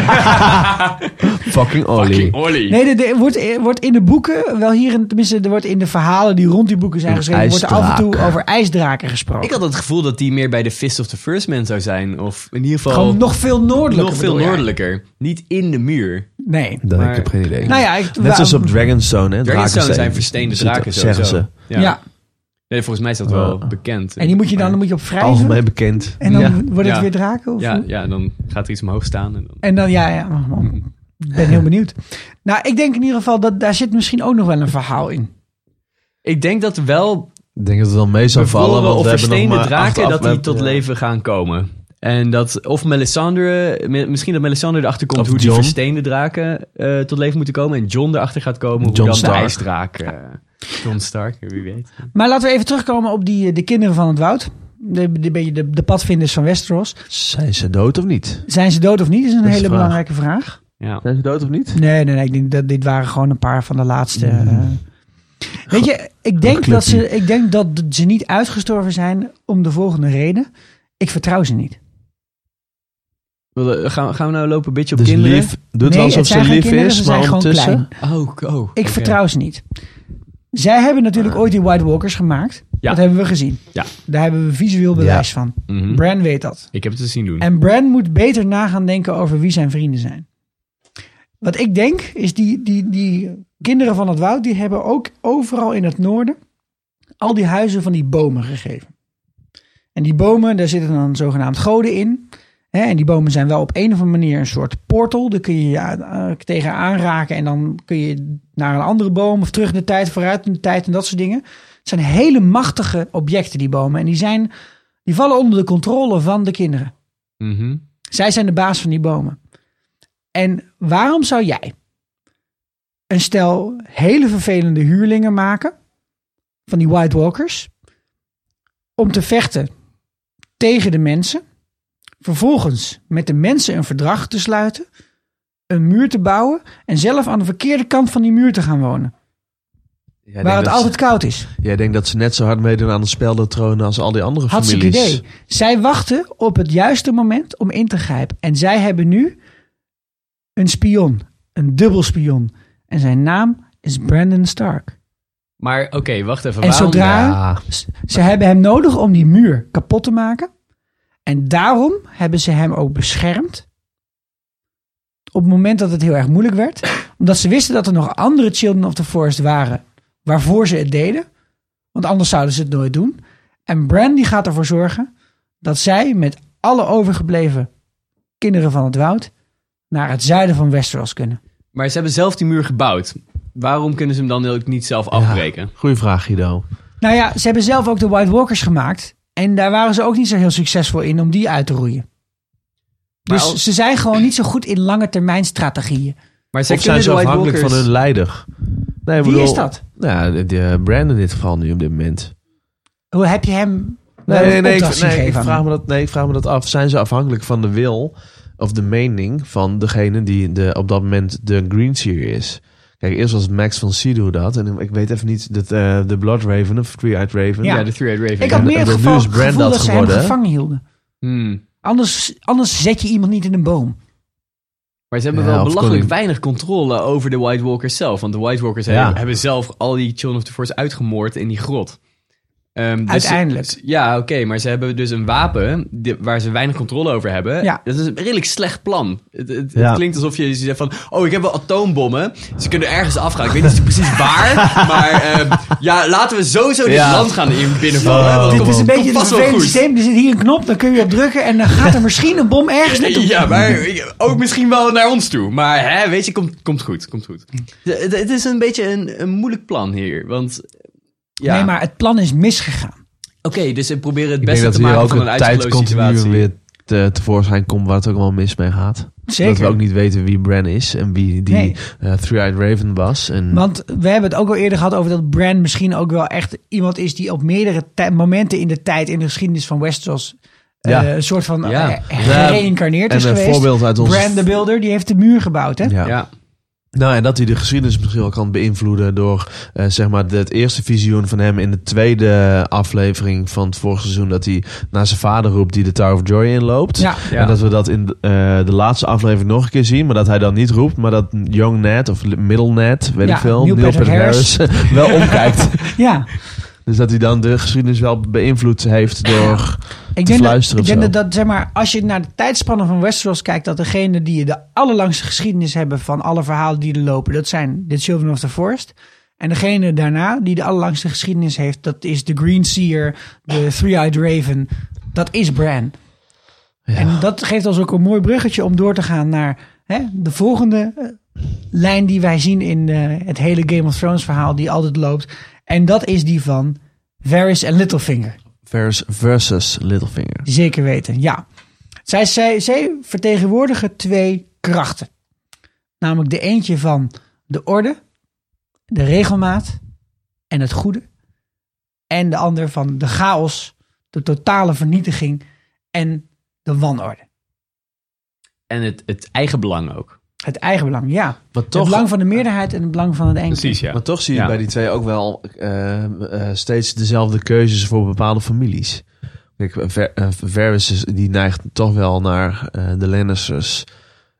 S3: Fucking Olly.
S4: Fucking Olly.
S1: nee, er, er wordt, er wordt in de boeken, wel hier, in- tenminste, er wordt in de verhalen die rond die boeken zijn
S3: Een
S1: geschreven, wordt er af en toe
S3: ijsdraak.
S1: over ijsdraken gesproken.
S4: Ik had het gevoel dat die meer bij de Fist of the First Man zou zijn. Of in ieder geval
S1: Gewoon nog veel noordelijker.
S4: nog veel
S1: bedoel jij?
S4: noordelijker. Niet in de muur.
S1: Nee.
S3: Dat
S4: Maar-
S3: ik heb geen idee.
S1: Nou ja, ik,
S3: Net zoals op Dragonstone, hè?
S4: Dragonstone
S3: Drakensteen.
S4: zijn versteende draken
S3: Zitten-
S4: sowieso.
S3: Zeggen ze.
S1: ja.
S4: Nee, volgens mij is dat wel bekend.
S1: En die moet je dan, dan moet je op wrijven.
S3: Algemeen bekend.
S1: En dan
S3: Ja.
S1: wordt het
S4: Ja.
S1: weer draken? Of
S4: Ja,
S1: hoe?
S4: ja, dan gaat er iets omhoog staan. En dan...
S1: En dan, ja, ja. oh, man. Ik ben heel benieuwd. Nou, ik denk in ieder geval dat daar zit misschien ook nog wel een verhaal in.
S4: Ik denk dat wel
S3: Ik denk dat het wel mee zou vallen,
S4: bevroren
S3: want
S4: of
S3: we hebben nog
S4: versteende
S3: maar
S4: draken
S3: acht
S4: dat die
S3: afleveringen.
S4: tot leven gaan komen. En dat, of Melisandre, mi- misschien dat Melisandre erachter komt
S3: Of
S4: hoe die
S3: Jon.
S4: versteende draken eh, tot leven moeten komen. En John erachter gaat komen hoe
S3: Jon
S4: dan de
S3: Stark.
S4: ijsdraak... <laughs> eh, Jon Stark, wie weet.
S1: Maar laten we even terugkomen op die, eh, de kinderen van het woud. De, de, de, de, de padvinders van Westeros.
S3: Zijn ze dood of niet?
S1: Zijn ze dood of niet? Is een
S3: is
S1: hele
S3: de vraag.
S1: belangrijke vraag.
S4: Ja.
S3: Zijn ze dood of niet?
S1: Nee, nee, nee. Ik denk dat dit waren gewoon een paar van de laatste.
S4: Mhm.
S1: eh. Weet je, ik denk, dat ze, ik denk dat ze niet uitgestorven zijn om de volgende reden. Ik vertrouw ze niet.
S4: Wel, eh, Gaan, gaan we nou lopen een beetje op
S3: Dus
S4: kinderen?
S3: lief.
S1: Nee,
S3: Doet wel
S1: het
S3: alsof
S1: zijn
S3: ze
S1: geen
S3: lief
S1: kinderen, ze
S3: is,
S1: zijn
S3: maar
S1: gewoon
S3: ondertussen...
S1: klein.
S4: Oh, oh.
S1: Ik vertrouw ze niet. Zij hebben natuurlijk ooit die White Walkers gemaakt.
S4: Ah. Ja.
S1: Dat hebben we gezien.
S4: Ja.
S1: Daar hebben we visueel bewijs van.
S4: Mhm.
S1: Bran weet dat.
S4: Ik heb het te zien doen.
S1: En Bran moet beter na gaan denken over wie zijn vrienden zijn. Wat ik denk, is die, die, die kinderen van het woud, die hebben ook overal in het noorden al die huizen van die bomen gegeven. En die bomen, daar zitten dan zogenaamd goden in. Hè, en die bomen zijn wel op een of andere manier een soort portal. Daar kun je je eh, tegen aanraken en dan kun je naar een andere boom of terug in de tijd, vooruit in de tijd en dat soort dingen. Het zijn hele machtige objecten, die bomen. En die, zijn, die vallen onder de controle van de kinderen.
S4: Mhm.
S1: Zij zijn de baas van die bomen. En waarom zou jij een stel hele vervelende huurlingen maken van die White Walkers om te vechten tegen de mensen? Vervolgens met de mensen een verdrag te sluiten, een muur te bouwen en zelf aan de verkeerde kant van die muur te gaan wonen,
S3: Jij
S1: waar
S3: denkt
S1: het
S3: dat
S1: altijd
S3: ze-
S1: koud is.
S3: Jij denkt dat ze net zo hard meedoen aan de spel der tronen als al die andere
S1: Hartstikke
S3: families.
S1: idee. Zij wachten op het juiste moment om in te grijpen. En zij hebben nu een spion. een dubbelspion. En zijn naam is Brandon Stark.
S4: Maar oké, wacht even.
S1: En
S4: waarom-
S1: zodra
S3: Ah,
S1: S- Ze hebben hem nodig om die muur kapot te maken. En daarom hebben ze hem ook beschermd. Op het moment dat het heel erg moeilijk werd. Omdat ze wisten dat er nog andere Children of the Forest waren. Waarvoor ze het deden. Want anders zouden ze het nooit doen. En Bran die gaat ervoor zorgen dat zij met alle overgebleven kinderen van het woud naar het zuiden van Westeros kunnen.
S4: Maar ze hebben zelf die muur gebouwd. Waarom kunnen ze hem dan ook niet zelf afbreken?
S3: goeie vraag, Guido.
S1: Nou ja, ze hebben zelf ook de White Walkers gemaakt. En daar waren ze ook niet zo heel succesvol in om die uit te roeien.
S4: Maar
S1: Dus
S4: al-
S1: ze zijn gewoon niet zo goed in lange termijn strategieën.
S4: Maar
S3: Of zijn ze afhankelijk van hun leider? Nee, ik
S1: Wie
S3: bedoel-
S1: is dat?
S3: Nou, de, de Brand in dit geval nu op dit moment.
S1: Hoe heb je hem wel
S3: Nee,
S1: een
S3: nee, nee, ik,
S1: opdracht zien
S3: nee, ik
S1: geven aan
S3: vraag
S1: hem?
S3: me dat, nee, ik vraag me dat af. Zijn ze afhankelijk van de wil of de mening van degene die de, op dat moment de Green Seer is? Kijk, eerst was Max van Sydow dat. En ik weet even niet, dat, eh, de Blood Raven of Three-Eyed Raven.
S1: Ja.
S4: Ja, de Three-Eyed Raven.
S1: Ik had
S3: Ja,
S1: meer het
S3: dat-
S1: geval,
S3: nu is Brand
S1: gevoel dat,
S3: dat
S1: ze
S3: geworden,
S1: hem
S3: hè?
S1: gevangen hielden.
S4: Hmm.
S1: Anders, anders zet je iemand niet in een boom.
S4: Maar ze hebben
S3: Ja,
S4: wel
S3: of
S4: belachelijk
S3: koning-
S4: weinig controle over de White Walkers zelf. Want de White Walkers
S3: Ja.
S4: hebben, hebben zelf al die Children of the Force uitgemoord in die grot. Ehm, dus-
S1: Uiteindelijk.
S4: ja, oké, maar ze hebben dus een wapen di- waar ze weinig controle over hebben.
S1: Ja.
S4: Dat is een redelijk slecht plan. Het, het, het
S3: Ja.
S4: klinkt alsof je zegt van, oh, ik heb wel atoombommen. Ze kunnen ergens afgaan. Ik weet
S3: <laughs>
S4: niet precies waar, maar ehm, ja, laten we sowieso dit
S3: Ja.
S4: land gaan in- binnenvallen. want
S1: Dit
S4: Oh, kom
S1: is
S4: op,
S1: een beetje
S4: komt
S1: het
S4: vast wel
S1: vervelende
S4: goed.
S1: systeem. Er zit hier een knop, dan kun je op drukken en dan gaat er misschien een bom ergens naartoe.
S4: Ja, maar ook misschien wel naar ons toe. Maar hè, weet je, komt, komt goed, komt goed. Hm. Het het is een beetje een, een moeilijk plan hier, want... Ja.
S1: Nee, maar het plan is misgegaan.
S4: Oké, dus ze proberen het
S3: Ik denk
S4: beste
S3: dat
S4: te
S3: hier
S4: maken
S3: ook
S4: van een
S3: een
S4: uitgeklote
S3: tijdcontinuum
S4: situatie.
S3: weer te, tevoorschijn komt waar het ook allemaal mis mee gaat. Dat we
S1: Zeker.
S3: ook niet weten wie Bran is en wie die
S1: Nee.
S3: eh, Three-Eyed Raven was. En,
S1: Want we hebben het ook al eerder gehad over dat Bran misschien ook wel echt iemand is die op meerdere tij- momenten in de tijd in de geschiedenis van Westeros eh,
S3: Ja.
S1: een soort van
S4: Ja.
S1: eh, gereïncarneerd
S3: en
S1: is
S3: een
S1: geweest.
S3: voorbeeld uit ons...
S1: Bran the Builder, die heeft de muur gebouwd, hè?
S3: Ja.
S4: Ja.
S3: Nou, en dat hij de geschiedenis misschien wel kan beïnvloeden door eh, zeg maar het eerste visioen van hem in de tweede aflevering van het vorige seizoen. Dat hij naar zijn vader roept die de Tower of Joy inloopt.
S1: Ja.
S4: Ja.
S3: En dat we dat in eh, de laatste aflevering nog een keer zien. Maar dat hij dan niet roept, maar dat Young Ned of Middle Ned, weet
S1: Ja,
S3: ik veel,
S1: Neil
S3: Neil
S1: Patrick
S3: Patrick Harris, <laughs>
S1: <laughs>
S3: wel omkijkt.
S1: Ja.
S3: Dus dat hij dan de geschiedenis wel beïnvloed heeft door...
S1: Ik denk, dat,
S3: fluisteren
S1: ik
S3: of
S1: denk
S3: zo.
S1: dat, dat, zeg maar, als je naar de tijdspannen van Westeros kijkt, dat degene die de allerlangste geschiedenis hebben van alle verhalen die er lopen, dat zijn de Children of the Forest. En degene daarna die de allerlangste geschiedenis heeft, dat is de Green Seer, de Three-Eyed Raven. Dat is Bran.
S3: Ja.
S1: En dat geeft ons ook een mooi bruggetje om door te gaan naar hè, de volgende eh, lijn die wij zien in eh, het hele Game of Thrones verhaal die altijd loopt. En dat is die van Varys en Littlefinger.
S3: Vers versus Littlefinger.
S1: Zeker weten, ja. Zij, zij, zij vertegenwoordigen twee krachten. Namelijk de eentje van de orde, de regelmaat en het goede. En de ander van de chaos, de totale vernietiging en de wanorde.
S4: En het, het eigen belang ook.
S1: Het eigenbelang, ja.
S3: Maar
S1: Het
S3: toch,
S1: belang van de meerderheid en het belang van het enkele.
S4: ja.
S3: maar toch zie je
S4: Ja.
S3: bij die twee ook wel eh, eh, steeds dezelfde keuzes voor bepaalde families. Kijk, Ver, eh, Varys is- die neigt toch wel naar eh, de Lannisters.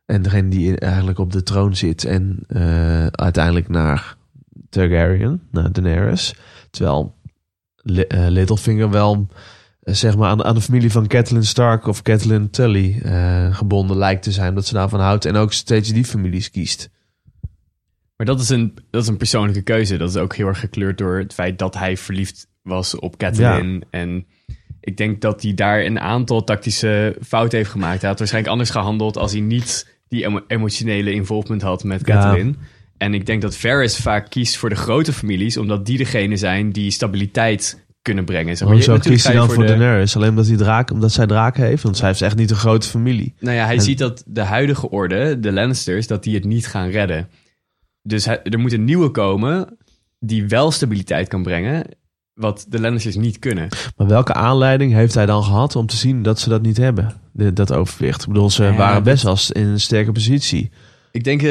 S3: En degene die eigenlijk op de troon zit. En eh, uiteindelijk naar Targaryen, naar Daenerys. Terwijl Li- eh, Littlefinger wel eh, zeg maar aan, aan de familie van Catelyn Stark of Catelyn Tully eh, gebonden lijkt te zijn. Dat ze daarvan houdt en ook steeds die families kiest.
S4: Maar dat is, een, dat is een persoonlijke keuze. Dat is ook heel erg gekleurd door het feit dat hij verliefd was op Catelyn. En ik denk dat hij daar een aantal tactische fouten heeft gemaakt. Hij had waarschijnlijk anders gehandeld als hij niet die emo- emotionele involvement had met
S3: Ja.
S4: Catelyn. En ik denk dat Varys vaak kiest voor de grote families, omdat die degene zijn die stabiliteit kunnen brengen. Zeg
S3: Waarom
S4: maar, je-
S3: zo
S4: natuurlijk
S3: kiest hij
S4: ga je
S3: dan voor Daenerys? Alleen omdat, hij draak, omdat zij draak heeft? Want zij heeft echt niet een grote familie.
S4: Nou ja, hij
S3: En-
S4: ziet dat de huidige orde, de Lannisters, dat die het niet gaan redden. Dus hij- er moet een nieuwe komen die wel stabiliteit kan brengen, wat de Lannisters niet kunnen.
S3: Maar welke aanleiding heeft hij dan gehad om te zien dat ze dat niet hebben? De- dat overwicht. Ik bedoel, ze
S4: Ja,
S3: waren
S4: dat-
S3: best wel in een sterke positie.
S4: Ik denk, eh,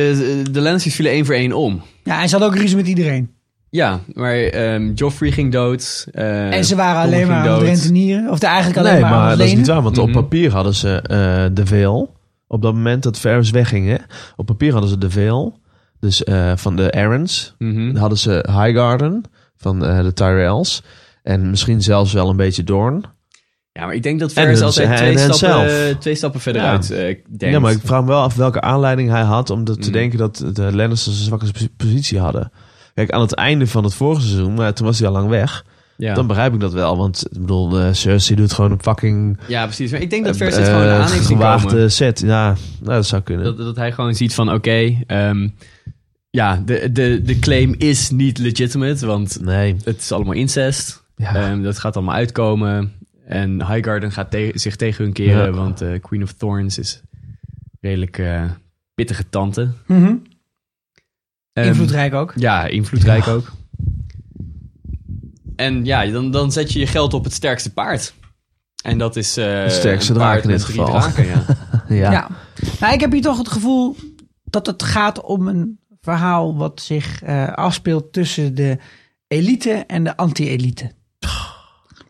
S4: de Lannisters vielen één voor één om.
S1: Ja, en ze hadden ook ruzie met iedereen.
S4: Ja, maar ehm, Joffrey ging dood. eh,
S1: en ze waren alleen
S4: Tommen
S1: maar
S4: ging
S1: aan het
S4: dood.
S1: rentenieren. Of eigenlijk alleen
S3: Nee,
S1: maar, aan
S3: maar
S1: het
S3: dat is
S1: lenen.
S3: niet waar. Want
S4: Mhm.
S3: op papier hadden ze eh, de veel. Op dat moment dat Ferris wegging, hè? op papier hadden ze de Veil, dus eh, van de Arons.
S4: mhm.
S3: Dan hadden ze Highgarden van eh, de Tyrells. En misschien zelfs wel een beetje Dorn.
S4: Ja, maar ik denk dat
S3: En
S4: Ferris
S3: hun-
S4: altijd
S3: en
S4: twee stappen,
S3: henzelf.
S4: twee stappen verder
S3: Ja.
S4: uit eh, denkt.
S3: Ja, maar ik vraag me wel af welke aanleiding hij had om dat te
S4: Mm.
S3: denken dat de Lannisters een zwakke pos- positie hadden. Kijk, aan het einde van het vorige seizoen, maar toen was hij al lang weg.
S4: ja.
S3: Dan begrijp ik dat wel, want ik bedoel, eh, Cersei doet gewoon een fucking
S4: ja, precies. Maar ik denk dat Ferris
S3: eh,
S4: het gewoon aan heeft zien
S3: gewaagde
S4: komen.
S3: set. Ja, nou, dat zou kunnen.
S4: Dat, dat hij gewoon ziet van, oké, ehm, ja, de, de, de claim is niet legitimate, want
S3: nee.
S4: het is allemaal incest.
S3: Ja.
S4: Ehm, dat gaat allemaal uitkomen. En Highgarden gaat te- zich tegen hun keren,
S3: Ja.
S4: want eh, Queen of Thorns is redelijk eh, pittige tante.
S1: Mhm.
S4: Ehm,
S1: Invloedrijk ook.
S4: Ja, invloedrijk ook. En ja, dan, dan zet je je geld op het sterkste paard. En dat is... eh,
S3: Het sterkste
S4: een
S3: draak
S4: paard
S3: in
S4: met
S3: dit
S4: drie
S3: geval.
S4: draken, ja.
S3: <laughs> ja.
S1: Ja. Nou, ik heb hier toch het gevoel dat het gaat om een verhaal wat zich eh, afspeelt tussen de elite en de anti-elite.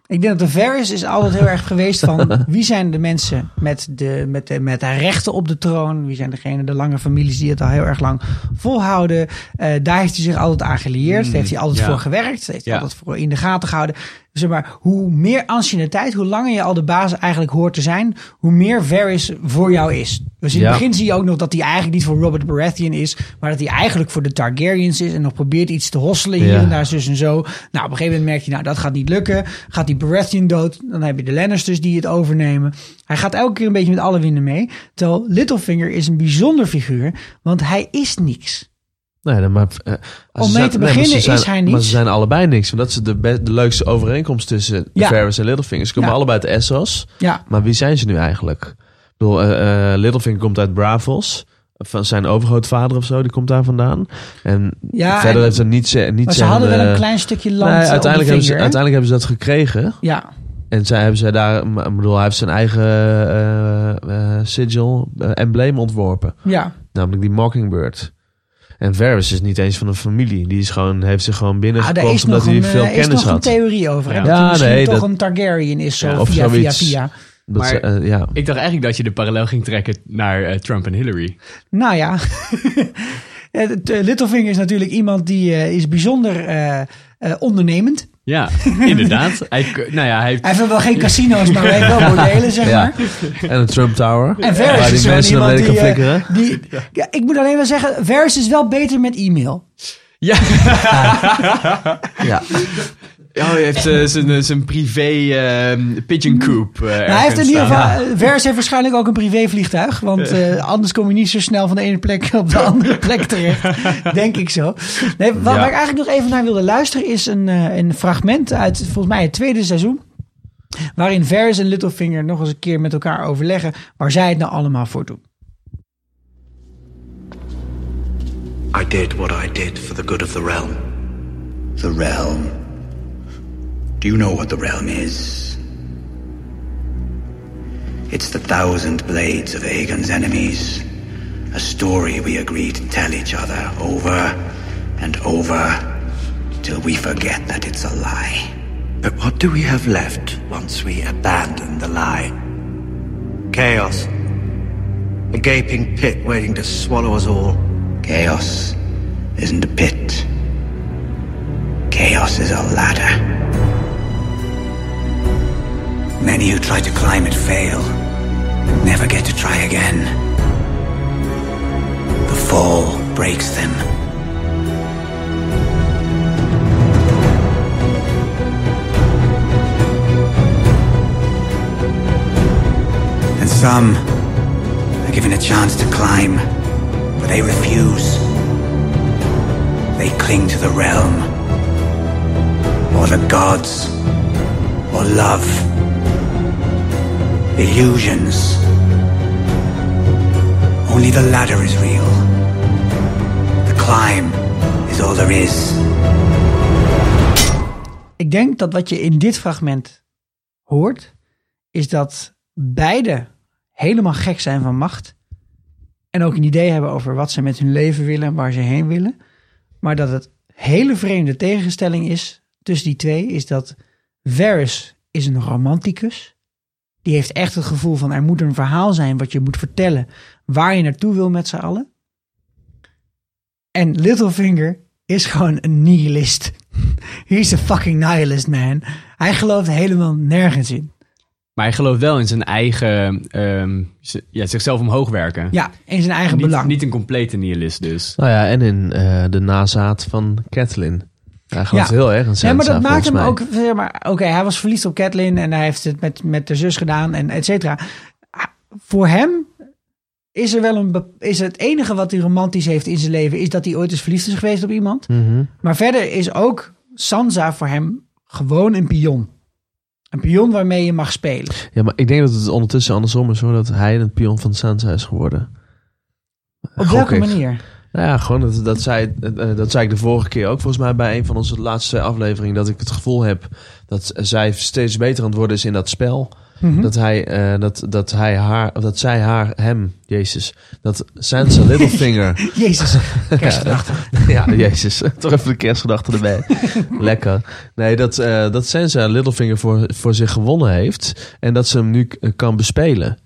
S1: Ik denk dat de Ferris is altijd heel erg geweest van wie zijn de mensen met de, met, de, met de rechten op de troon? Wie zijn degene, de lange families die het al heel erg lang volhouden? Eh, daar heeft hij zich altijd aan gelieerd. daar heeft hij altijd
S4: ja.
S1: voor gewerkt. Daar heeft hij
S4: Ja.
S1: altijd voor in de gaten gehouden. Zeg maar, hoe meer anciëniteit, hoe langer je al de baas eigenlijk hoort te zijn, hoe meer Varys voor jou is. Dus in
S3: Ja.
S1: het begin zie je ook nog dat hij eigenlijk niet voor Robert Baratheon is, maar dat hij eigenlijk voor de Targaryens is en nog probeert iets te hosselen hier
S3: Ja.
S1: en daar, zus en zo. Nou, op een gegeven moment merk je, nou, dat gaat niet lukken. Gaat die Baratheon dood, dan heb je de Lannisters die het overnemen. Hij gaat elke keer een beetje met alle winden mee. Terwijl Littlefinger is een bijzonder figuur, want hij is niks.
S3: Nee, nee, maar, eh, als
S1: Om mee
S3: zijn-
S1: te
S3: nee, maar
S1: beginnen
S3: ze zijn,
S1: is hij
S3: Maar
S1: niets.
S3: ze zijn allebei niks. Want dat is de, be- de leukste overeenkomst tussen
S1: Ja.
S3: Ferris en Littlefinger. Ze komen
S1: Ja.
S3: allebei uit Essos.
S1: Ja,
S3: Maar wie zijn ze nu eigenlijk? Ik bedoel, eh, eh, Littlefinger komt uit Bravos. Van zijn overgrootvader of zo, die komt daar vandaan. En
S1: ja
S3: verder
S1: en-
S3: heeft ze niet, ze- niet
S1: maar ze
S3: zijn,
S1: hadden wel
S3: eh,
S1: een klein stukje
S3: nee,
S1: land eh, op de
S3: uiteindelijk, hebben ze,
S1: vinger, hè?
S3: uiteindelijk hebben ze dat gekregen.
S1: Ja,
S3: En zij hebben zij daar, maar ik bedoel, hij heeft zijn eigen eh, eh, sigil, eh, embleem ontworpen.
S1: ja.
S3: Namelijk die Mockingbird. En Varys is niet eens van een familie. Die is gewoon, heeft zich gewoon
S1: Ah,
S3: binnengekomen
S1: daar is
S3: omdat
S1: nog,
S3: hij
S1: een,
S3: veel
S1: eh, is
S3: kennis
S1: nog een
S3: had.
S1: theorie over. Hè?
S3: Ja.
S1: Dat hij
S3: Ja,
S1: misschien
S3: nee,
S1: toch
S3: dat-
S1: een Targaryen is. Zo,
S4: Ja,
S3: of
S1: via, via,
S3: zoiets.
S1: via.
S3: Dat
S4: Maar-
S3: ze, eh, ja.
S4: Ik dacht eigenlijk dat je de parallel ging trekken naar eh, Trump en Hillary.
S1: Nou ja. <laughs> Het, eh, Littlefinger is natuurlijk iemand die eh, is bijzonder eh, eh, ondernemend.
S4: Ja, <laughs> inderdaad. Hij, k- nou ja, hij heeft...
S1: Hij heeft wel geen casino's, maar hij heeft wel bordelen, zeg
S3: <laughs> Ja.
S1: maar.
S3: En de Trump Tower.
S1: En Varys
S3: waar
S1: is
S3: die
S1: zo'n
S3: mensen naar
S1: iemand
S3: beneden kan
S1: die, eh,
S3: flikkeren.
S1: Die, ja, ik moet alleen wel zeggen, Varys is wel beter met e-mail.
S4: <laughs> Ja,
S3: Ja.
S4: Ja, hij heeft eh, zijn, eh, zijn privé ehm, pigeon coop eh,
S1: Nou, hij heeft in
S4: ergens
S1: ieder
S4: staan.
S1: geval, Varys heeft waarschijnlijk ook een privévliegtuig. Want eh, anders kom je niet zo snel van de ene plek op
S4: <laughs>
S1: de andere plek terecht. Denk ik zo. Nee, wa- waar,
S3: Ja.
S1: ik eigenlijk nog even naar wilde luisteren is een, eh, een fragment uit volgens mij het tweede seizoen. Waarin Varys en Littlefinger nog eens een keer met elkaar overleggen waar zij het nou allemaal voor doen.
S5: I did what I did for the good of the realm.
S6: The realm. Do you know what the realm is? It's the thousand blades of Aegon's enemies. A story we agree to tell each other over and over till we forget that it's a lie.
S5: But what do we have left once we abandon the lie? Chaos. A gaping pit waiting to swallow us all.
S6: Chaos isn't a pit. Chaos is a ladder. Many who try to climb it fail, never get to try again. The fall breaks them. And some are given a chance to climb, but they refuse. They cling to the realm, or the gods, or love, illusions. Only the ladder is real. The climb is all there is.
S1: Ik denk dat wat je in dit fragment hoort, is dat beide helemaal gek zijn van macht. En ook een idee hebben over wat ze met hun leven willen en waar ze heen willen. Maar dat het hele vreemde tegenstelling is tussen die twee, is dat Varys is een romanticus die heeft echt het gevoel van er moet een verhaal zijn wat je moet vertellen. Waar je naartoe wil met z'n allen. En Littlefinger is gewoon een nihilist. He's a fucking nihilist, man. Hij gelooft helemaal nergens in.
S4: Maar hij gelooft wel in zijn eigen, ehm, z- ja, zichzelf omhoog werken.
S1: Ja, in zijn eigen
S4: niet,
S1: belang.
S4: niet een complete nihilist dus.
S3: Nou ja, en in eh, de nazaat van Catelyn. Hij gelooft
S1: Ja.
S3: heel erg in
S1: Ja,
S3: Sansa,
S1: maar dat maakt
S3: volgens
S1: hem
S3: mij.
S1: ook. Zeg maar, Oké, hij was verliefd op Catelyn en hij heeft het met, met de zus gedaan en et cetera. Ah, Voor hem is er wel een. be- Is het enige wat hij romantisch heeft in zijn leven is dat hij ooit eens verliefd is geweest op iemand.
S3: Mhm.
S1: Maar verder is ook Sansa voor hem gewoon een pion. Een pion waarmee je mag spelen.
S3: Ja, maar ik denk dat het ondertussen andersom is hoor. Dat hij een pion van Sansa is geworden.
S1: Op
S3: Gok
S1: welke
S3: ik.
S1: manier?
S3: Nou ja, gewoon dat, dat, zei, eh, dat zei ik de vorige keer ook volgens mij bij een van onze laatste twee afleveringen. Dat ik het gevoel heb dat zij steeds beter aan het worden is in dat spel. Dat, hij, eh, dat, dat, hij haar, of dat zij haar, hem, Jezus. Dat Sansa Littlefinger.
S4: <laughs>
S1: Jezus, kerstgedachte.
S3: ja, <laughs> Jezus. Toch even de kerstgedachte erbij. Lekker. Nee, dat, eh, dat Sansa Littlefinger voor, voor zich gewonnen heeft. En dat ze hem nu k- eh, kan bespelen.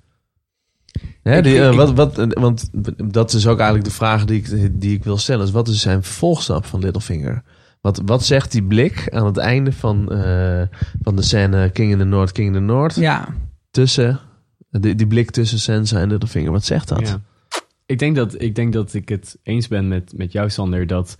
S3: Hè,
S1: Ik-
S3: die, eh,
S1: ik-
S3: wat, wat, eh, want dat is ook eigenlijk de vraag die ik, die ik wil stellen. Is wat is zijn vervolgstap van Littlefinger? Wat, wat zegt die blik aan het einde van, eh, van de scène King in the North, King in the North?
S1: Ja,
S3: Tussen, die, die blik tussen Sansa en Littlefinger. Wat zegt dat?
S4: Ja. Ik, denk dat, ik denk dat ik het eens ben met, met jou, Sander, dat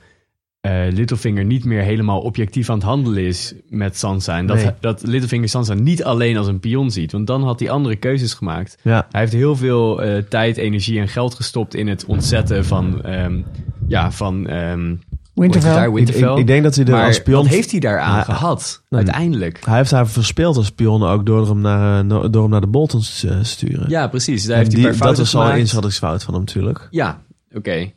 S4: eh, Littlefinger niet meer helemaal objectief aan het handelen is met Sansa. En dat,
S3: Nee.
S4: dat Littlefinger Sansa niet alleen als een pion ziet, want dan had hij andere keuzes gemaakt.
S3: Ja.
S4: Hij heeft heel veel eh, tijd, energie en geld gestopt in het ontzetten van, ehm, ja, van ehm,
S1: Winterfell.
S4: Winterfell.
S3: Ik- ik denk dat hij er
S4: Maar
S3: als pion-
S4: wat heeft hij daaraan
S3: Ja.
S4: gehad,
S3: Nee.
S4: uiteindelijk?
S3: Hij heeft haar verspeeld als pion ook door hem naar, eh, no- door hem naar de Boltons eh, te sturen.
S4: Ja, precies. Daar
S3: En
S4: heeft hij
S3: die,
S4: per fouten
S3: dat is al een
S4: gemaakt.
S3: inschattingsfout van hem natuurlijk.
S4: Ja, oké.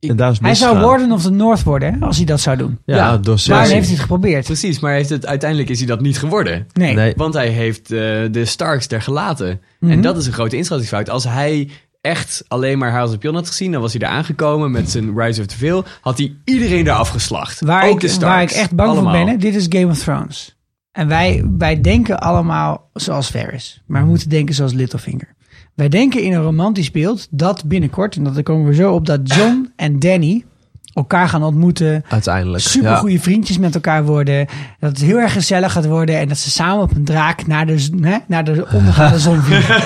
S3: En daar is
S1: Hij zou
S3: misgegaan.
S1: Warden of the North worden hè, als hij dat zou doen.
S3: Ja,
S4: Ja,
S3: door
S1: Maar
S3: Cersei.
S1: heeft hij het geprobeerd?
S4: Precies, maar heeft het, uiteindelijk is hij dat niet geworden.
S1: Nee.
S3: Nee.
S4: Want hij heeft eh, de Starks er gelaten.
S1: Mhm.
S4: En dat is een grote inschattingsfout. Als hij echt alleen maar haar als een pion had gezien... dan was hij daar aangekomen met zijn Rise of the Veil... had hij iedereen daar afgeslacht.
S1: Waar,
S4: Ook
S1: ik,
S4: de Starks.
S1: waar ik echt bang
S4: Allemaal.
S1: voor ben, hè, dit is Game of Thrones. En wij, wij denken allemaal zoals Ferris. Maar we moeten denken zoals Littlefinger. Wij denken in een romantisch beeld dat binnenkort, en dat daar komen we zo op, dat John en Danny elkaar gaan ontmoeten.
S3: Uiteindelijk.
S1: Super goede vriendjes met elkaar worden. Dat het heel erg gezellig gaat worden. En dat ze samen op een draak naar de, z- hè, naar de
S3: <laughs>
S1: ondergaande zon vliegen.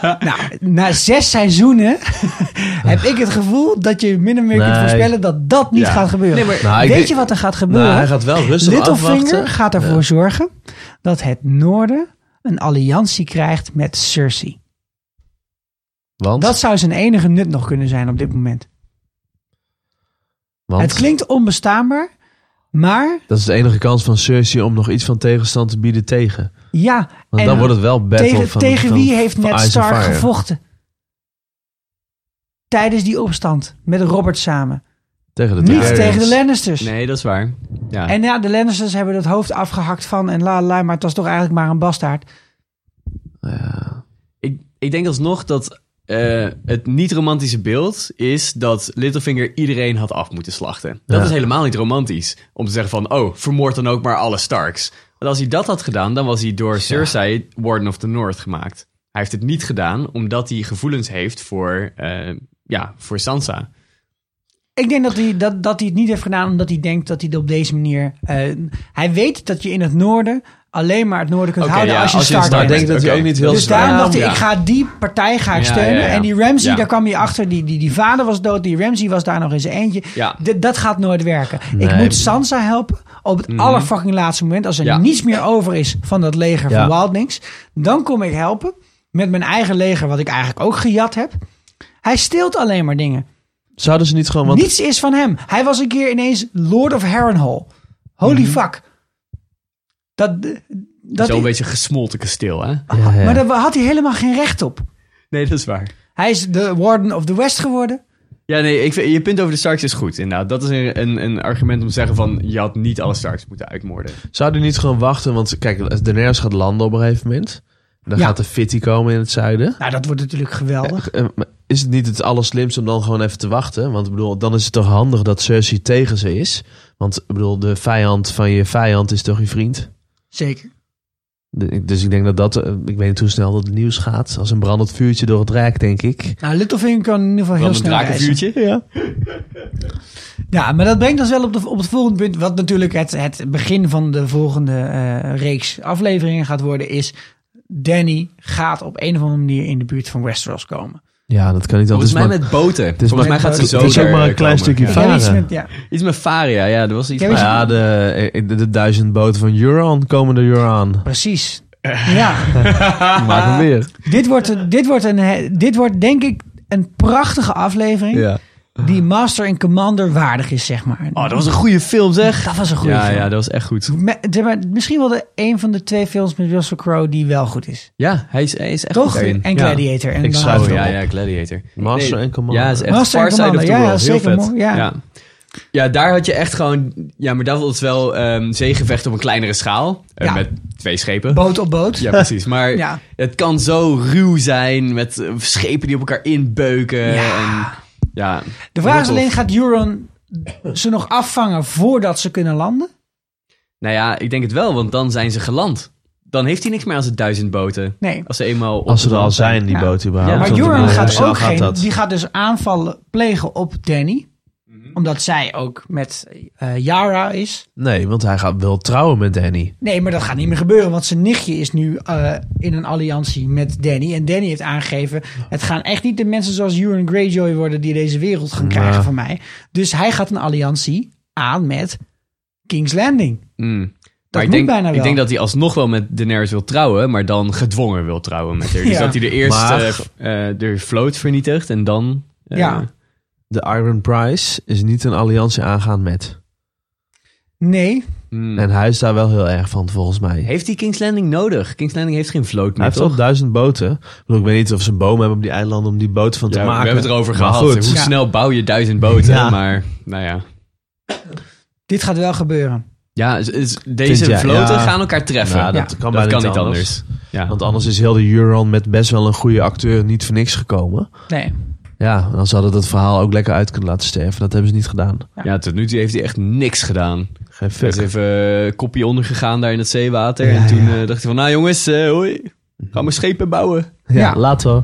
S1: nou, na zes seizoenen <laughs> heb ik het gevoel dat je min of meer kunt
S3: Nee.
S1: voorspellen dat dat niet
S3: Ja.
S1: gaat gebeuren.
S4: Nee, maar-
S3: Nou, ik
S1: Weet
S3: denk-
S1: je wat er gaat
S3: Ja.
S1: gebeuren?
S3: Nou, hij gaat wel rustig
S1: Littlefinger
S3: afwachten.
S1: gaat ervoor zorgen dat het noorden een alliantie krijgt met Cersei.
S3: Want,
S1: Dat zou zijn enige nut nog kunnen zijn op dit moment.
S3: want
S1: Het klinkt onbestaanbaar, maar
S3: dat is de enige kans van Cersei om nog iets van tegenstand te bieden tegen.
S1: ja.
S3: Want
S1: en
S3: dan wordt het wel battle
S1: tegen
S3: van
S1: tegen
S3: van-
S1: wie heeft
S3: van
S1: Ned
S3: Ice and
S1: Stark
S3: Fire.
S1: gevochten? Tijdens die opstand met Robert samen.
S3: Tegen de
S1: Niet
S3: Targaryens.
S1: tegen de Lannisters.
S4: Nee, dat is waar. Ja.
S1: En ja, de Lannisters hebben het hoofd afgehakt van en la la la, maar het was toch eigenlijk maar een bastaard.
S3: Ja.
S4: Ik, ik denk alsnog dat eh, het niet-romantische beeld is dat Littlefinger iedereen had af moeten slachten. Dat
S3: Ja.
S4: is helemaal niet romantisch. Om te zeggen van, oh, vermoord dan ook maar alle Starks. Want als hij dat had gedaan, dan was hij door Cersei Warden of the North gemaakt. Hij heeft het niet gedaan omdat hij gevoelens heeft voor, eh, ja, voor Sansa.
S1: Ik denk dat hij, dat, dat hij het niet heeft gedaan omdat hij denkt dat hij het op deze manier. eh, hij weet dat je in het noorden alleen maar het noorden kunt
S4: Oké,
S1: houden
S4: ja,
S1: als je
S4: als je
S1: Stark
S3: Maar ik
S4: Stark
S1: bent.
S3: denk dat hij
S4: Oké.
S3: ook niet heel
S1: Dus
S3: zwaar-
S1: daarom dacht hij,
S4: Ja.
S1: ik ga die partij ga ik
S4: Ja,
S1: steunen.
S4: ja, ja.
S1: En die Ramsey,
S4: Ja.
S1: daar kwam hij achter. Die, die, die vader was dood. Die Ramsey was daar nog in zijn eentje.
S4: Ja.
S1: D- dat gaat nooit werken. Ik
S3: Nee.
S1: moet Sansa helpen op het allerfucking laatste moment. Als er
S4: Mhm. Ja.
S1: niets meer over is van dat leger
S3: Ja.
S1: van Wildlings. Dan kom ik helpen met mijn eigen leger, wat ik eigenlijk ook gejat heb. Hij steelt alleen maar dingen.
S3: Zouden ze niet gewoon... Want
S1: Niets is van hem. Hij was een keer ineens Lord of Harrenhal. Holy
S4: Mhm.
S1: fuck. Dat, dat,
S4: Zo'n beetje gesmolten kasteel, hè?
S3: Ja, ja.
S1: Maar daar had hij helemaal geen recht op.
S4: Nee, dat is waar.
S1: Hij is de Warden of the West geworden.
S4: Ja, nee, ik vind, je punt over de Starks is goed. Inderdaad, dat is een, een, een argument om te zeggen van... je had niet alle Starks moeten uitmoorden.
S3: Zou die niet gewoon wachten? Want kijk, Daenerys gaat landen op een gegeven moment. Dan
S1: Ja.
S3: gaat de Fitty komen in het zuiden.
S1: Nou, dat wordt natuurlijk geweldig.
S3: Eh, maar Is het niet het allerslimste om dan gewoon even te wachten? Want ik bedoel, dan is het toch handig dat Cersei tegen ze is? Want ik bedoel, de vijand van je vijand is toch je vriend?
S1: Zeker.
S3: De- Dus ik denk dat dat, eh, ik weet niet hoe snel dat het nieuws gaat. Als een brandend vuurtje door het rijk, denk ik.
S1: Nou, Littlefinger kan in ieder geval heel
S4: Brandend
S1: snel reizen.
S4: drakenvuurtje.
S3: Ja.
S1: Ja, maar dat brengt ons wel op, de, op het volgende punt. Wat natuurlijk het, het begin van de volgende eh, reeks afleveringen gaat worden, is Danny gaat op een of andere manier in de buurt van Westeros komen.
S3: Ja, dat kan niet
S4: Volgens
S3: anders.
S4: mij
S3: maar-
S4: met boten.
S3: is
S4: Volgens
S3: maar-
S4: mij gaat ze
S1: het
S4: zo
S3: is ook
S4: er,
S3: maar een
S4: eh,
S3: klein
S4: komen.
S3: stukje
S4: Ja.
S3: Varen.
S1: Ja, iets met- ja.
S4: Iets met Faria, ja. Er was iets
S1: Ja,
S4: van-
S1: weet je-
S3: ja, de, eh, de, duizend boten van Euron komen er Euron.
S1: Precies. Ja,
S3: Maak hem weer.
S1: dit wordt, dit, wordt een, he- dit wordt denk ik een prachtige aflevering
S3: Ja.
S1: die Master en Commander waardig is, zeg maar.
S4: Oh, dat was een goede film, zeg.
S1: Dat was een goede
S4: Ja,
S1: film.
S4: ja, dat was echt goed.
S1: Me- zeg maar, misschien wel de, een van de twee films met Russell Crowe die wel goed is.
S4: Ja, hij is, hij is echt
S1: Toch?
S4: goed daarin.
S1: En
S4: Ja.
S1: Gladiator. En
S3: Ik
S1: dan-
S3: schrijf
S4: Oh
S3: het
S4: ja,
S3: op.
S4: ja, Gladiator.
S3: Master
S4: Nee,
S3: en Commander.
S4: Ja, is echt
S1: Master
S4: Far
S1: en
S4: Side of the
S1: Commander, ja,
S4: World.
S1: ja,
S4: Heel
S1: zeker,
S4: vet.
S1: mooi, ja.
S4: ja. Ja, daar had je echt gewoon... Ja, maar dat was wel ehm zeegevecht op een kleinere schaal. Eh,
S1: Ja.
S4: Met twee schepen.
S1: Boot op boot.
S4: ja, precies. Maar
S1: Ja.
S4: het kan zo ruw zijn met eh, schepen die op elkaar inbeuken.
S1: Ja.
S4: Eh, En, ja.
S1: De vraag is
S4: Heel tof.
S1: alleen, gaat Euron ze nog afvangen voordat ze kunnen landen?
S4: Nou ja, ik denk het wel, want dan zijn ze geland. Dan heeft hij niks meer aan zijn duizend boten.
S1: Nee.
S4: Als ze eenmaal... op
S3: Als ze
S4: het
S3: er al
S4: land
S3: zijn, die
S1: Ja.
S3: boot überhaupt.
S4: Ja,
S1: Maar
S4: dat
S3: Want,
S1: Joran
S3: eh, hoe
S1: gaat
S3: snel
S1: ook geen.
S3: dat?
S1: Die gaat dus aanvallen plegen op Danny.
S4: Mhm.
S1: Omdat zij ook met eh, Yara is.
S3: Nee, want hij gaat wel trouwen met Danny.
S1: Nee, maar dat gaat niet meer gebeuren. Want zijn nichtje is nu eh, in een alliantie met Danny. En Danny heeft aangegeven... het gaan echt niet de mensen zoals Euron Greyjoy worden... die deze wereld gaan krijgen van mij. Dus hij gaat een alliantie aan met King's Landing.
S4: Mm.
S1: Dat
S4: maar ik
S1: moet
S4: denk,
S1: bijna wel.
S4: ik denk dat hij alsnog wel met Daenerys wil trouwen, maar dan gedwongen wil trouwen met haar. Dus
S1: Ja.
S4: dat hij de eerste
S3: Maar-
S4: eh, eh, de vloot vernietigt en dan... eh,
S1: Ja.
S3: De Iron Prize is niet een alliantie aangaan met.
S1: Nee,
S4: mm.
S3: En hij is daar wel heel erg van, volgens mij.
S4: Heeft hij King's Landing nodig? King's Landing heeft geen vloot
S3: Hij
S4: meer,
S3: heeft
S4: toch?
S3: al duizend boten. Ik, bedoel, ik weet niet of ze een boom hebben op die eilanden om die boten van te
S4: Ja, we
S3: maken.
S4: hebben het erover
S3: Maar
S4: gehad.
S3: goed.
S4: Hoe
S1: Ja.
S4: snel bouw je duizend boten?
S3: Ja.
S4: Maar, nou ja.
S1: dit gaat wel gebeuren.
S4: Ja, is- is-
S3: Vind
S4: deze
S3: jij-
S4: vloten
S3: ja.
S4: gaan elkaar treffen.
S3: Ja, dat kan bijna niet anders.
S4: Ja.
S3: Want anders is heel de Euron met best wel een goede acteur niet voor niks gekomen.
S1: Nee.
S3: Ja, dan ze hadden dat verhaal ook lekker uit kunnen laten sterven. Dat hebben ze niet gedaan.
S4: ja, tot nu toe heeft hij echt niks gedaan.
S3: Geen
S4: Hij is
S3: fuck.
S4: even eh, kopje ondergegaan daar in het zeewater. en toen eh, dacht hij van, nou jongens, eh, hoi.
S3: Mhm.
S4: Ga maar schepen bouwen.
S3: Ja,
S1: Ja.
S3: laten we.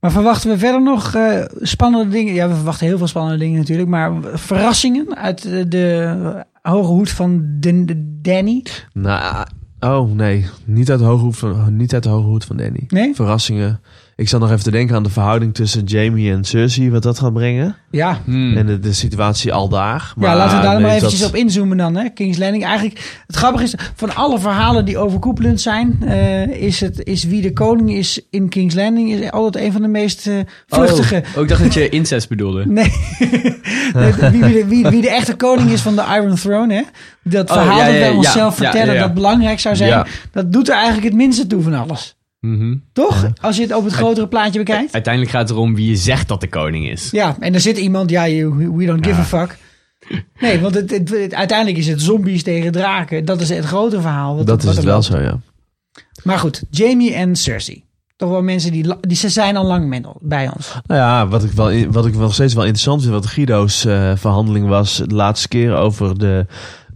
S1: Maar verwachten we verder nog eh, spannende dingen? Ja, we verwachten heel veel spannende dingen natuurlijk. Maar verrassingen uit eh, de, hoge hoed van Den- de Danny.
S3: Nou, oh nee, niet uit de hoge hoed van, niet uit de hoge hoed van Danny.
S1: Nee?
S3: Verrassingen. Ik zat nog even te denken aan de verhouding tussen Jamie en Cersei, wat dat gaat brengen.
S1: Ja,
S4: Hmm.
S3: En de, de situatie al daar. Maar
S1: ja laten we daar
S3: nee,
S1: maar
S3: dat-
S1: eventjes op inzoomen dan. Hè? King's Landing. Eigenlijk, het grappige is, van alle verhalen die overkoepelend zijn... eh, is, het, is wie de koning is in King's Landing... is altijd een van de meest eh, vluchtige.
S4: Oh, ik dacht dat je incest bedoelde.
S1: Nee, <laughs> Nee, wie, wie, de, wie, wie de echte koning is van de Iron Throne, hè? Dat
S4: Oh,
S1: verhaal
S4: ja, ja,
S1: dat wij
S4: ja,
S1: onszelf
S4: ja, ja,
S1: vertellen
S4: ja.
S1: dat belangrijk zou zijn...
S3: Ja.
S1: dat doet er eigenlijk het minste toe van alles.
S4: Mhm.
S1: Toch? Als je het op het grotere plaatje bekijkt.
S4: Uiteindelijk gaat het erom wie je zegt dat de koning is.
S1: Ja, en er zit iemand, ja, you- we don't give a fuck. Nee, want het, het- het- uiteindelijk is het zombies tegen draken. Dat is het grote verhaal. wat-
S3: Dat
S1: wat
S3: is het
S1: er
S3: wel
S1: loopt.
S3: zo, ja.
S1: Maar goed, Jamie en Cersei. Toch wel mensen die, la- die ze zijn al lang met, bij ons.
S3: Nou ja, wat ik, wel, in- wat ik nog steeds wel interessant vind, wat Guido's eh, verhandeling was de laatste keer over de,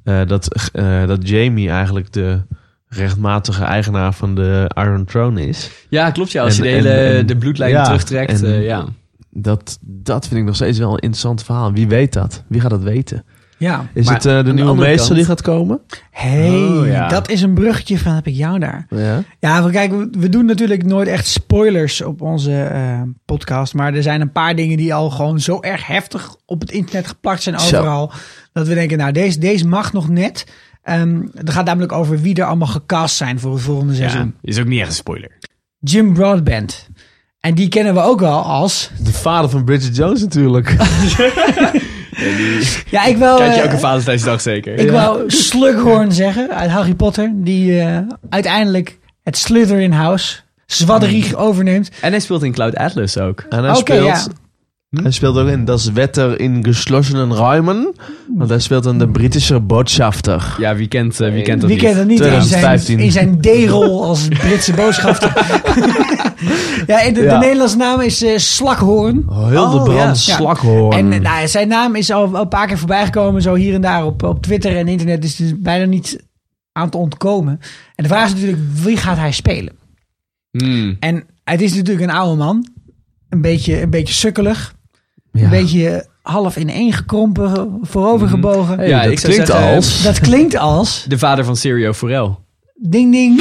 S3: eh, dat, eh, dat Jamie eigenlijk de rechtmatige eigenaar van de Iron Throne is.
S4: Ja, klopt. Ja, als
S3: En-
S4: je de hele
S3: en- en-
S4: de bloedlijn
S3: ja,
S4: terugtrekt.
S3: en-
S4: eh, ja.
S3: Dat, dat vind ik nog steeds wel een interessant verhaal. Wie weet dat? Wie gaat dat weten?
S1: Ja.
S3: Is
S4: Maar
S3: het eh,
S4: aan
S3: de
S4: de
S3: nieuwe
S4: andere
S3: meester
S4: kant-
S3: die gaat komen?
S1: hey,
S4: Oh, ja.
S1: dat is een bruggetje van heb ik jou daar.
S3: Ja.
S1: Ja, we, kijk, we- we doen natuurlijk nooit echt spoilers op onze eh, podcast. Maar er zijn een paar dingen die al gewoon zo erg heftig op het internet geplakt zijn
S3: Zo.
S1: overal. Dat we denken, nou, deze, deze mag nog net. Ehm het gaat namelijk over wie er allemaal gecast zijn voor het volgende seizoen.
S4: Is ook niet echt een spoiler.
S3: Oh,
S1: Jim Broadbent. En die kennen we ook wel als...
S3: De vader van Bridget Jones natuurlijk.
S1: Ja, ik wil...
S4: Kijk je
S1: eh,
S4: ook een Valentijnsdag zeker?
S1: ik
S4: <laughs>
S1: wou Slughorn zeggen uit Harry Potter. Die eh, uiteindelijk het Slytherin House
S4: Mm.
S1: zwadderig overneemt.
S4: En hij speelt in Cloud Atlas ook.
S3: En hij,
S1: Oké,
S3: speelt, Hm?
S1: ja.
S3: hij speelt ook in Das Wetter in geschlossenen Räumen. Want hij speelt dan de Britische Botschafter.
S4: Ja, wie kent, eh, wie kent dat
S1: Wie kent dat niet in zijn,
S3: 2015.
S1: in zijn D-rol als Britse boodschapper?
S4: <laughs>
S1: ja, en de, de
S3: Ja.
S1: Nederlandse naam is eh, Slakhoorn.
S3: Heel de
S4: Oh, ja.
S3: brand
S1: Ja.
S3: slakhoorn.
S1: En eh, nou, ja, zijn naam is al al een paar keer voorbijgekomen, zo hier en daar op, op Twitter en internet. Dus het is bijna niet aan te ontkomen. En de vraag is natuurlijk, wie gaat hij spelen?
S4: Hmm.
S1: En het is natuurlijk een oude man. Een beetje, een beetje sukkelig. Een beetje half ineengekrompen, voorovergebogen.
S4: Ja,
S3: dat
S4: ik zou
S3: klinkt
S4: zeggen-
S3: als...
S1: Dat klinkt als...
S4: De vader van Serio Forel.
S1: Ding ding.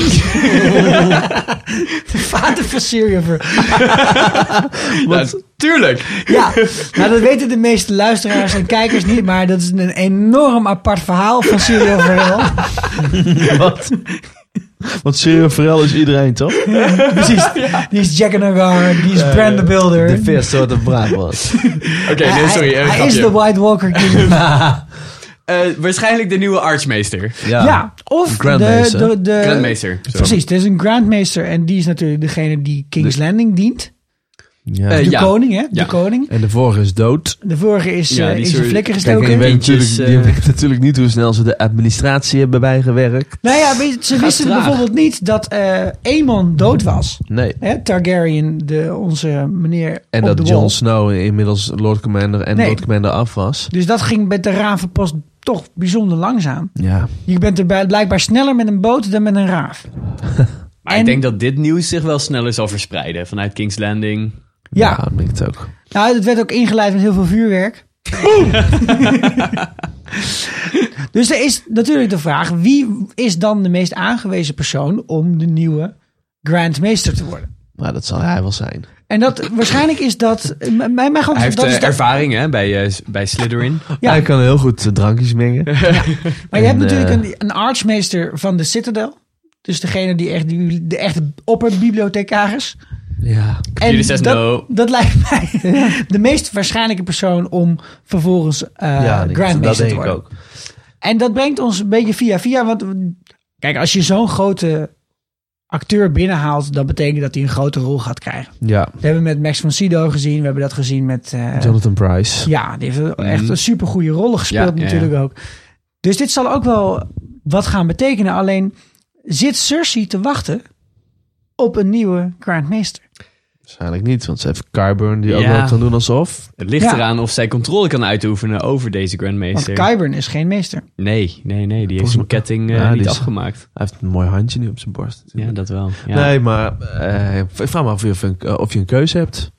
S1: <laughs> de vader van Seriever.
S4: Nou, tuurlijk!
S1: Ja, nou, dat weten de meeste luisteraars en kijkers niet. Maar dat is een enorm apart verhaal van Seriever.
S3: Wat? Want Serio Farrell is iedereen, toch?
S1: Precies. Die is Jack and Hagar, die is Brand the Builder.
S3: <laughs> De vest wat een braaf was.
S4: Oké, nee, sorry.
S1: hij
S4: eh,
S1: hij is de
S4: grapje.
S1: White Walker King.
S4: Eh, waarschijnlijk de nieuwe artsmeester.
S1: ja. of de,
S3: Grandmeester.
S1: de, de...
S4: Grandmeester. sorry.
S1: Eh, Precies, er is een Grandmeester en die is natuurlijk degene die King's Landing dient.
S3: Ja.
S4: Eh,
S1: De
S4: ja.
S1: koning, hè?
S4: Ja.
S1: De koning.
S3: En de vorige is dood.
S1: De vorige is,
S4: Ja,
S1: eh,
S4: die
S1: is
S4: soort-
S1: een flikker
S3: Kijk, en
S1: gestoken.
S3: je weet
S4: Eentje is,
S3: natuurlijk, je
S4: eh,
S3: weet natuurlijk niet hoe snel ze de administratie hebben bijgewerkt.
S1: nou ja, weet je, ze wisten
S4: traag.
S1: bijvoorbeeld niet dat eh Aemon dood was.
S3: Nee.
S1: Hè? Targaryen, de, onze meneer
S3: En
S1: op de
S3: dat
S1: wall.
S3: Jon Snow inmiddels Lord Commander en
S1: Nee.
S3: Lord Commander af was.
S1: Dus dat ging met de ravenpost toch bijzonder langzaam.
S3: Ja.
S1: Je bent er bij- blijkbaar sneller met een boot dan met een raaf.
S4: <laughs> Maar
S1: En-
S4: ik denk dat dit nieuws zich wel sneller zal verspreiden vanuit King's Landing.
S1: Ja,
S3: Ja, ik denk het ook.
S1: Nou, het werd ook ingeleid met heel veel
S4: <laughs>
S1: vuurwerk. dus er is natuurlijk de vraag: wie is dan de meest aangewezen persoon om de nieuwe Grandmeester te worden?
S3: Maar dat zal hij wel zijn.
S1: En dat waarschijnlijk is dat. m- Mijn, mijn god,
S4: Hij heeft
S1: dat
S4: eh,
S1: is de-
S4: ervaring hè, bij, eh, s- bij Slytherin.
S1: Ja.
S3: Hij kan heel goed eh, drankjes mengen.
S1: Maar je hebt
S3: en,
S1: natuurlijk
S3: eh,
S1: een, een artsmeester van de Citadel. Dus degene die echt die- de echte opperbibliothecaris.
S3: <laughs> Ja.
S1: En
S4: Computer says
S1: dat,
S4: no.
S1: dat lijkt <laughs> mij de meest waarschijnlijke persoon om vervolgens eh
S3: ja, ik- dat
S1: Grandmeester
S3: denk
S1: te
S3: ik
S1: worden.
S3: ook.
S1: En dat brengt ons een beetje via via. Want kijk, als je zo'n grote acteur binnenhaalt, dan betekent dat hij een grote rol gaat krijgen.
S3: Ja.
S1: We hebben met Max van Sydow gezien, we hebben dat gezien met... eh,
S3: Jonathan Price.
S1: ja, die heeft echt een supergoeie rollen gespeeld
S4: Mhm. Ja, ja,
S1: natuurlijk ook. Dus dit zal ook wel wat gaan betekenen. Alleen zit Cersei te wachten op een nieuwe Grandmeester.
S3: Waarschijnlijk niet, want ze heeft Kyburn die ook
S4: Ja.
S3: wel kan doen alsof.
S4: Het ligt
S1: Ja.
S4: eraan of zij controle kan uitoefenen over deze
S1: Want
S4: Grandmeester.
S1: Qyburn is geen meester.
S4: Nee, nee, nee. Die heeft
S3: Volgens
S4: zijn
S3: mij-
S4: ketting eh,
S3: Ja, die
S4: niet
S3: is-
S4: afgemaakt.
S3: Hij heeft een mooi handje nu op zijn borst.
S4: Ja, dat wel. Ja.
S3: Nee, maar eh, ik vraag me af of je, een- eh, of je een keuze hebt.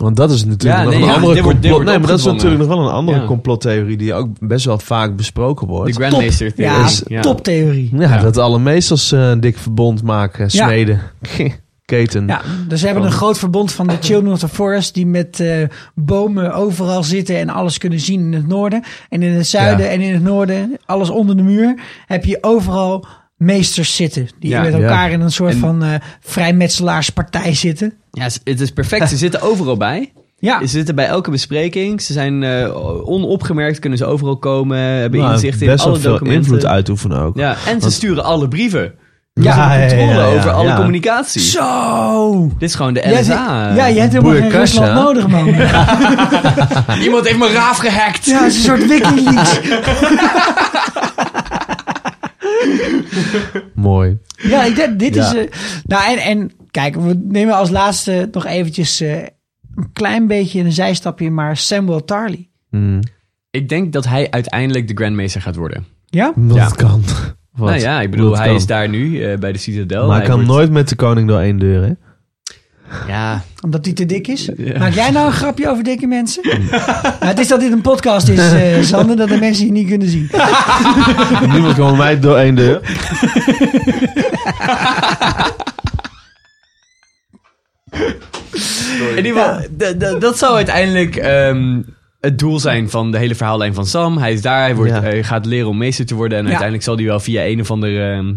S3: Want dat is natuurlijk
S4: Ja,
S3: nog
S4: nee,
S3: een
S4: ja,
S3: andere
S4: dit wordt-
S3: complot.
S4: dit wordt
S3: nee, maar dat is
S4: opgedwongen.
S3: natuurlijk nog wel een andere
S4: Ja.
S3: complottheorie die ook best wel vaak besproken
S4: De
S3: wordt.
S4: Grandmeester
S1: Ja,
S4: theorie.
S1: is toptheorie.
S3: Ja, dat alle meesters eh, een dik verbond maken,
S1: Ja.
S3: sneden,
S4: <laughs>
S3: keten. nou,
S1: Ja, dus ze hebben een groot verbond van de Children of the Forest... die met eh, bomen overal zitten en alles kunnen zien in het noorden. En in het zuiden
S3: Ja.
S1: en in het noorden, alles onder de muur... heb je overal meesters zitten... die
S4: Ja,
S1: met
S3: ja.
S1: elkaar in een soort
S4: En-
S1: van eh, vrijmetselaarspartij zitten.
S4: Ja, ze- het is
S1: <laughs>
S4: perfect. Ze zitten overal bij.
S1: Ja,
S4: Ze zitten bij elke bespreking. Ze zijn eh, onopgemerkt, kunnen ze overal komen, hebben
S3: Nou,
S4: inzicht in
S3: best wel
S4: alle
S3: veel
S4: documenten.
S3: invloed uitoefenen ook.
S4: Ja, en ze sturen alle brieven.
S3: ja, ja,
S4: Controle
S3: ja, ja,
S4: over alle
S3: ja.
S4: communicatie.
S1: zo!
S4: Dit is gewoon de
S1: Jij
S4: NSA.
S1: zit- ja, je hebt helemaal geen
S3: boerenkastje,
S1: Rusland
S3: hè?
S1: nodig, man. Ja,
S4: Iemand heeft mijn raaf gehackt.
S1: het is een
S4: <laughs>
S1: soort Wikileaks.
S3: Mooi.
S1: Ja, ik denk, dit is...
S3: Ja.
S1: eh, nou, en, en kijk, we nemen als laatste nog eventjes eh, een klein beetje een zijstapje... maar Samuel Tarly.
S3: Mm.
S4: Ik denk dat hij uiteindelijk de Grandmeester gaat worden.
S1: Ja?
S3: Dat
S4: Ja.
S3: kan. Wat?
S4: Nou ja, ik bedoel,
S3: Dat
S4: hij
S3: kan.
S4: is daar nu eh, bij de Citadel.
S3: Maar hij kan
S4: wordt-
S3: nooit met de koning door één deur, hè?
S4: Ja,
S1: Omdat die te dik is? Maak jij nou een grapje over dikke mensen? nou, het is dat dit een podcast is, eh Sander, dat de mensen je niet kunnen zien.
S3: Niemand kan met mij door één deur.
S4: in ieder geval, d- d- dat zou uiteindelijk ehm, het doel zijn van de hele verhaallijn van Sam. Hij is daar, hij wordt,
S3: Ja.
S4: eh, gaat leren om meester te worden. En
S1: Ja.
S4: uiteindelijk zal hij wel via een of andere ehm,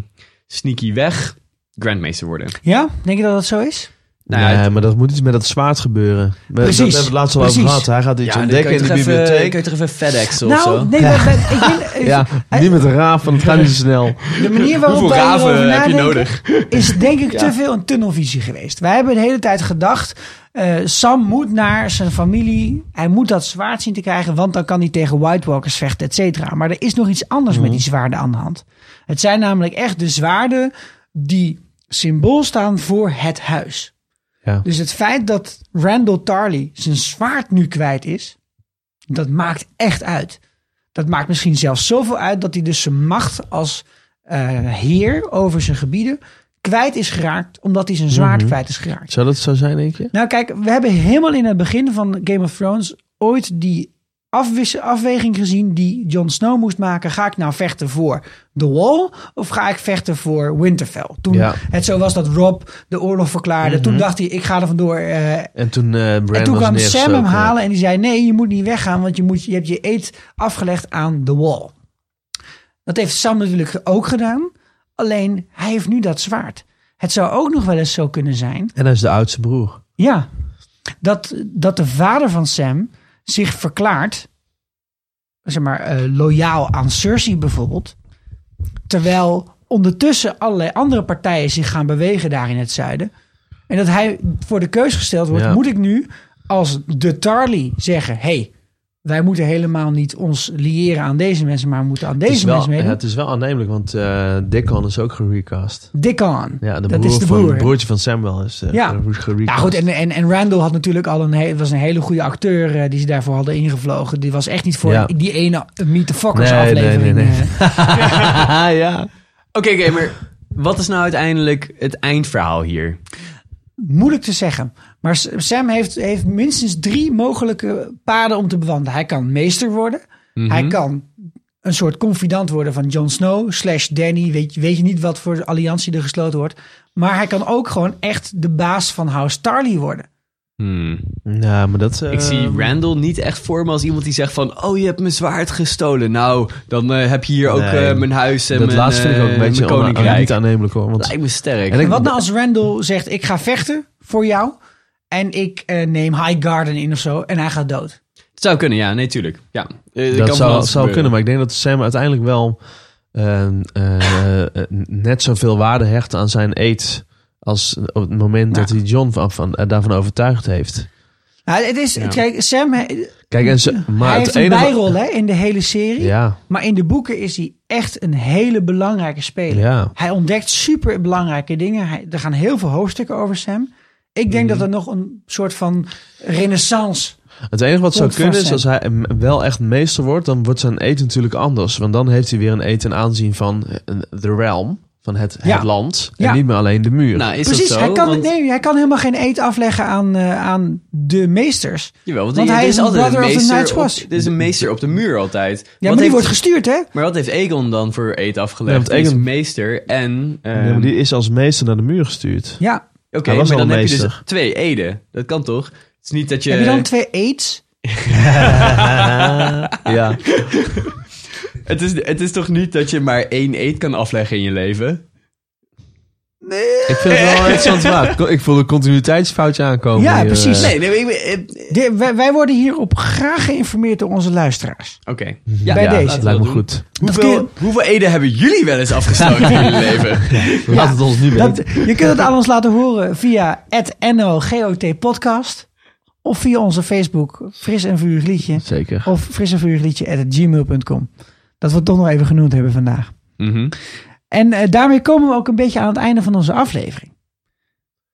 S4: sneaky weg Grandmeester worden.
S1: Ja? Denk je dat dat zo is?
S4: Nou ja,
S3: nee,
S4: het-
S3: maar dat moet iets met dat zwaard gebeuren. We-
S1: Precies,
S3: Dat hebben we het laatst al over
S1: precies.
S3: gehad. Hij gaat iets
S4: dan
S3: ontdekken
S4: kan
S3: in de
S4: je toch even-
S3: bibliotheek.
S4: kan je toch even FedEx of
S1: nou,
S3: <laughs>
S4: zo?
S1: nee, maar, maar ik vind... eh,
S3: Ja,
S1: eh,
S3: niet met een raaf, want het gaat niet zo snel.
S1: De manier waarop
S4: Hoeveel
S1: wij
S4: raven
S1: hierover
S4: heb je
S1: nadenken
S4: nodig?
S1: <laughs> is denk ik te veel een tunnelvisie geweest. Wij hebben de hele tijd gedacht, eh, Sam moet naar zijn familie. Hij moet dat zwaard zien te krijgen, want dan kan hij tegen White Walkers vechten, et cetera. Maar er is nog iets anders
S4: Mhm.
S1: met die zwaarden aan de hand. Het zijn namelijk echt de zwaarden die symbool staan voor het huis.
S3: Ja.
S1: Dus het feit dat Randall Tarly zijn zwaard nu kwijt is, dat maakt echt uit. Dat maakt misschien zelfs zoveel uit dat hij dus zijn macht als eh, heer over zijn gebieden kwijt is geraakt, omdat hij zijn zwaard kwijt is geraakt.
S3: Zou dat zo zijn, denk je?
S1: Nou, kijk, we hebben helemaal in het begin van Game of Thrones ooit die afwis- afweging gezien die Jon Snow moest maken. Ga ik nou vechten voor The Wall of ga ik vechten voor Winterfell? Toen
S3: Ja. Mhm.
S1: het zo was dat Rob de oorlog verklaarde, toen dacht hij: ik ga er vandoor. eh,
S3: En toen eh Bran
S1: en toen
S3: was
S1: kwam Sam hem
S3: neergestoken.
S1: halen en die zei: Nee, je moet niet weggaan, want je, moet, je hebt je eet afgelegd aan The Wall. Dat heeft Sam natuurlijk ook gedaan, alleen hij heeft nu dat zwaard. Het zou ook nog wel eens zo kunnen zijn
S3: En hij is de oudste broer.
S1: ja, dat, dat de vader van Sam zich verklaart, zeg maar, eh, loyaal aan Cersei bijvoorbeeld. Terwijl ondertussen allerlei andere partijen zich gaan bewegen daar in het zuiden. En dat hij voor de keus gesteld wordt,
S3: Ja.
S1: moet ik nu als de Tarly zeggen, hey, wij moeten helemaal niet ons liëren aan deze mensen, maar we moeten aan
S3: het, is
S1: deze
S3: wel,
S1: mensen
S3: ja,
S1: meedoen.
S3: het is wel aannemelijk, want eh Dickon is ook gerecast.
S1: Dickon.
S3: Ja, de
S1: dat
S3: broer
S1: is de
S3: van
S1: broer.
S3: het broertje van Samuel is eh
S1: Ja.
S3: gerecast.
S1: Ja, goed. En, en, en Randall had natuurlijk al een, he- was een hele goede acteur eh, die ze daarvoor hadden ingevlogen. Die was echt niet voor
S3: Ja.
S1: die ene eh, Meet the Fockers
S3: Nee, nee,
S1: aflevering.
S3: nee, nee.
S1: eh. <laughs>
S4: ja. Oké, oké, maar wat is nou uiteindelijk het eindverhaal hier?
S1: moeilijk te zeggen. Maar S- Sam heeft, heeft minstens drie mogelijke paden om te bewandelen. Hij kan meester worden.
S3: Mhm.
S1: Hij kan een soort confidant worden van Jon Snow slash Danny. Weet, je- weet je niet wat voor alliantie er gesloten wordt. Maar hij kan ook gewoon echt de baas van House Tarly worden.
S4: Hmm.
S3: Ja, maar dat... eh,
S4: Ik zie Randall niet echt voor me als iemand die zegt van... Oh, je hebt mijn zwaard gestolen. Nou, dan eh, heb je hier ook
S3: Nee,
S4: eh, mijn huis en
S3: Dat
S4: mijn,
S3: laatste vind ik ook
S4: eh,
S3: een beetje
S4: mijn
S3: on-
S4: koninkrijk.
S3: niet aannemelijk hoor. Want
S4: Lijkt me sterk.
S3: En ik-
S1: En wat nou als Randall zegt: Ik ga vechten voor jou. En ik eh, neem High Garden in of zo. En hij gaat dood.
S4: Het zou kunnen, ja. Nee, tuurlijk. Ja. Eh, er kan
S3: dat
S4: van
S3: zou,
S4: alles
S3: zou
S4: gebeuren.
S3: kunnen, maar ik denk dat Sam uiteindelijk wel eh, eh, eh, net zoveel waarde hecht aan zijn eet als op het moment
S1: Ja.
S3: dat hij John van, van, eh, daarvan overtuigd heeft.
S1: Nou, het is, kijk, Sam, hij,
S3: Kijk, en ze, maar
S1: hij
S3: het
S1: heeft een
S3: enige-
S1: bijrol hè, in de hele serie.
S3: Ja,
S1: Maar in de boeken is hij echt een hele belangrijke speler.
S3: Ja.
S1: Hij ontdekt super belangrijke dingen. Hij, er gaan heel veel hoofdstukken over Sam. Ik denk dat er nog een soort van renaissance.
S3: het enige wat zou
S1: Komt
S3: kunnen
S1: vast
S3: is als hij m- wel echt meester wordt, dan wordt zijn eet natuurlijk anders. Want dan heeft hij weer een eet ten aanzien van eh, the realm, van het,
S1: Ja.
S3: het land, en
S1: Ja.
S3: niet meer alleen de muur.
S4: Nou, is
S1: Precies,
S4: dat zo?
S1: hij kan,
S4: Want-
S1: nee, hij kan helemaal geen eet afleggen aan, eh, aan de meesters.
S4: Jawel, want,
S1: Want
S4: die-
S1: hij
S4: er
S1: is een
S4: altijd
S1: brother of the
S4: meester
S1: Night's
S4: op-
S1: Watch.
S4: Er is een meester op de muur altijd. Wat
S1: Ja, maar die
S4: heeft-
S1: wordt gestuurd, hè?
S4: maar wat heeft Egon dan voor eet afgelegd?
S3: Ja, want
S4: Hij is
S3: Aegon-
S4: meester en... ehm,
S3: Nee, maar die is als meester naar de muur gestuurd.
S1: Ja.
S4: Oké,
S3: Hij was
S4: maar
S3: al
S4: dan
S3: een
S4: heb je dus
S3: meester.
S4: twee eden. Dat kan toch? Het is niet dat je...
S1: Heb je dan twee aids?
S3: ja.
S4: het, is, het is toch niet dat je maar één eet kan afleggen in je leven?
S3: Ik vind het
S1: <laughs>
S3: wel een interessant waar. Ik voel een continuïteitsfoutje aankomen.
S1: Ja,
S3: hier,
S1: precies.
S3: eh.
S1: Nee,
S4: nee, ik... Oké.
S1: De- wij, wij worden hierop graag geïnformeerd door onze luisteraars.
S4: Ja,
S1: Bij
S4: ja,
S1: deze.
S4: laten
S3: Dat
S4: we
S3: lijkt me
S4: doen.
S3: goed.
S1: Dat
S4: Hoeveel,
S1: kun
S4: hoeveel eden hebben jullie wel eens afgestoken
S1: <laughs>
S4: in jullie leven?
S3: Laat het ons nu
S1: Dat,
S3: weten.
S1: je kunt het aan ons laten horen via het NOGOT podcast. Of via onze Facebook Fris en Vurig Liedje.
S3: Zeker.
S1: Of fris en vurig liedje at gmail.com. Dat we het toch nog even genoemd hebben vandaag.
S4: Mhm.
S1: En eh, daarmee komen we ook een beetje aan het einde van onze aflevering.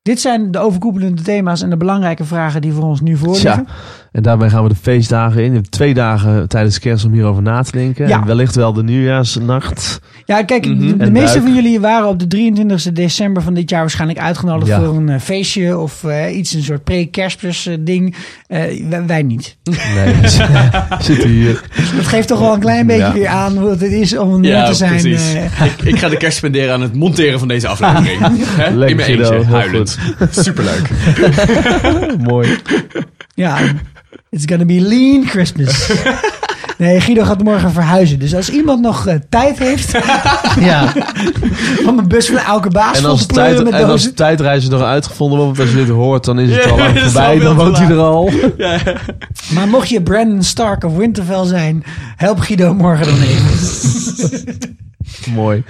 S1: Dit zijn de overkoepelende thema's en de belangrijke vragen die voor ons nu voorliggen.
S3: Tja. En daarmee gaan we de feestdagen in. Je hebt twee dagen tijdens kerst om hierover na te denken.
S1: Ja.
S3: En wellicht wel de nieuwjaarsnacht.
S1: Ja, kijk, de- de,
S3: Mhm. En
S1: meeste
S3: duik.
S1: van jullie waren op de 23 december van dit jaar waarschijnlijk uitgenodigd
S3: Ja.
S1: voor een eh, feestje of eh, iets, een soort pre-kerstmis eh, ding. Eh, wij, wij niet.
S3: Nee, we
S1: <laughs>
S3: <laughs> zitten hier.
S1: Dat geeft toch wel een klein beetje
S3: Ja.
S1: weer aan hoe het is om een
S4: Ja,
S1: te zijn.
S4: precies.
S1: eh,
S4: Ik, ik ga de kerst spenderen aan het monteren van deze
S1: <laughs>
S4: aflevering. Hè? in
S3: Lekker,
S4: mijn
S3: Guido.
S4: eentje,
S3: Heel
S4: huilend. Superleuk.
S1: Oh,
S3: Mooi.
S1: Ja, it's gonna be lean
S3: <laughs>
S1: Christmas. Nee, Guido gaat morgen verhuizen. Dus als iemand nog eh, tijd heeft
S3: <laughs> Ja.
S1: <laughs> om een bus van elke baas vol
S3: En
S1: te
S3: als,
S1: pleuren
S3: tijd,
S1: met
S3: en als
S1: dozen.
S3: tijdreizen nog uitgevonden wordt, want als je dit hoort, dan is het al
S1: <laughs>
S3: lang
S4: Ja, dat is
S3: voorbij.
S4: al
S3: Dan
S4: veel
S3: woont
S4: te
S3: hij er al.
S1: Maar mocht je Brandon Stark of Winterfell zijn, help Guido morgen dan even. <laughs>
S3: Mooi.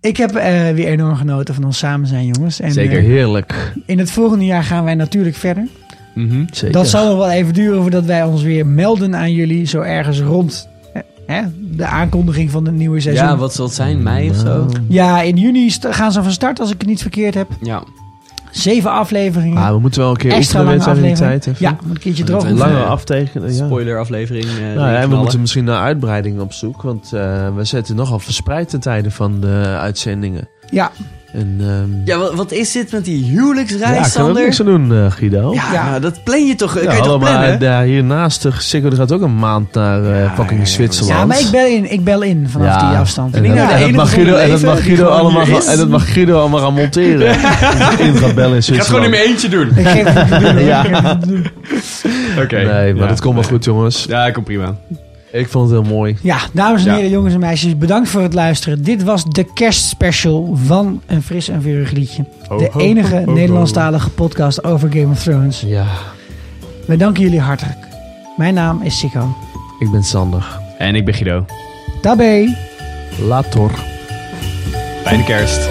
S1: Ik heb eh, weer enorm genoten van ons samen zijn, jongens. En,
S4: Zeker.
S1: eh,
S3: Heerlijk.
S1: in het volgende jaar gaan wij natuurlijk verder.
S4: Mhm.
S3: Zeker.
S1: Dat zal nog wel even duren voordat wij ons weer melden aan jullie. Zo ergens rond eh, hè, de aankondiging van het nieuwe seizoen.
S3: Nou.
S4: Ja, wat zal het zijn? Mei of zo?
S1: Ja, in juni st- gaan ze van start, als ik het niet verkeerd heb.
S4: Ja.
S1: Zeven afleveringen.
S3: Ah, we moeten wel een keer
S1: extra
S3: oefenen
S1: lange
S3: met zijn die
S1: aflevering.
S3: tijd. Even. Oh,
S1: ja, moet een keertje droog.
S3: Een
S1: oefenen.
S3: lange
S4: Ja.
S3: aftekenen. Ja.
S4: Spoiler aflevering.
S3: Nou ja, en we moeten misschien naar uitbreiding op zoek. Want eh, we zetten nogal verspreid de tijden van de uitzendingen.
S1: Ja,
S3: En, ehm
S4: Ja, wat, wat is dit met die
S3: ja,
S4: huwelijksreis,
S3: kunnen we
S4: Sander?
S3: niks aan doen, eh, Guido.
S4: ja, nou,
S1: Ja.
S4: dat plan je toch?
S3: Ja,
S4: kun je
S3: hallo,
S4: toch
S3: maar
S4: plannen?
S3: daar hiernaast, eh, Sikko, die gaat ook een maand naar eh, fucking Zwitserland.
S1: ja maar ik bel in, ik bel in vanaf
S3: Ja.
S1: die afstand.
S3: En,
S4: denk
S3: dat-
S4: nou de
S3: en dat
S4: enige
S3: mag
S4: van
S3: Guido,
S4: mijn
S3: en dat
S4: leven
S3: mag
S4: die
S3: Guido
S4: gewoon
S3: allemaal
S4: hier
S3: gaan,
S4: is.
S3: en dat mag Guido allemaal gaan
S1: <laughs>
S3: monteren. in gaat bellen in
S4: Ik ga het gewoon
S3: Zwitserland.
S4: in mijn eentje doen.
S1: Ik geef
S3: <laughs>
S1: het een ja.
S4: Oké.
S3: Nee, maar dat komt wel goed, jongens.
S4: Ja, komt prima.
S3: Ik vond het heel mooi.
S1: ja, dames en
S4: Ja.
S1: heren, jongens en meisjes, bedankt voor het luisteren. Dit was de kerstspecial van Een Fris en Vurig Liedje. De enige Nederlandstalige podcast over Game of Thrones.
S3: Ja,
S1: Wij danken jullie hartelijk. Mijn naam is Sikko.
S3: ik ben Sander.
S4: En ik ben Guido.
S1: Tabé!
S3: Later.
S4: Fijne kerst.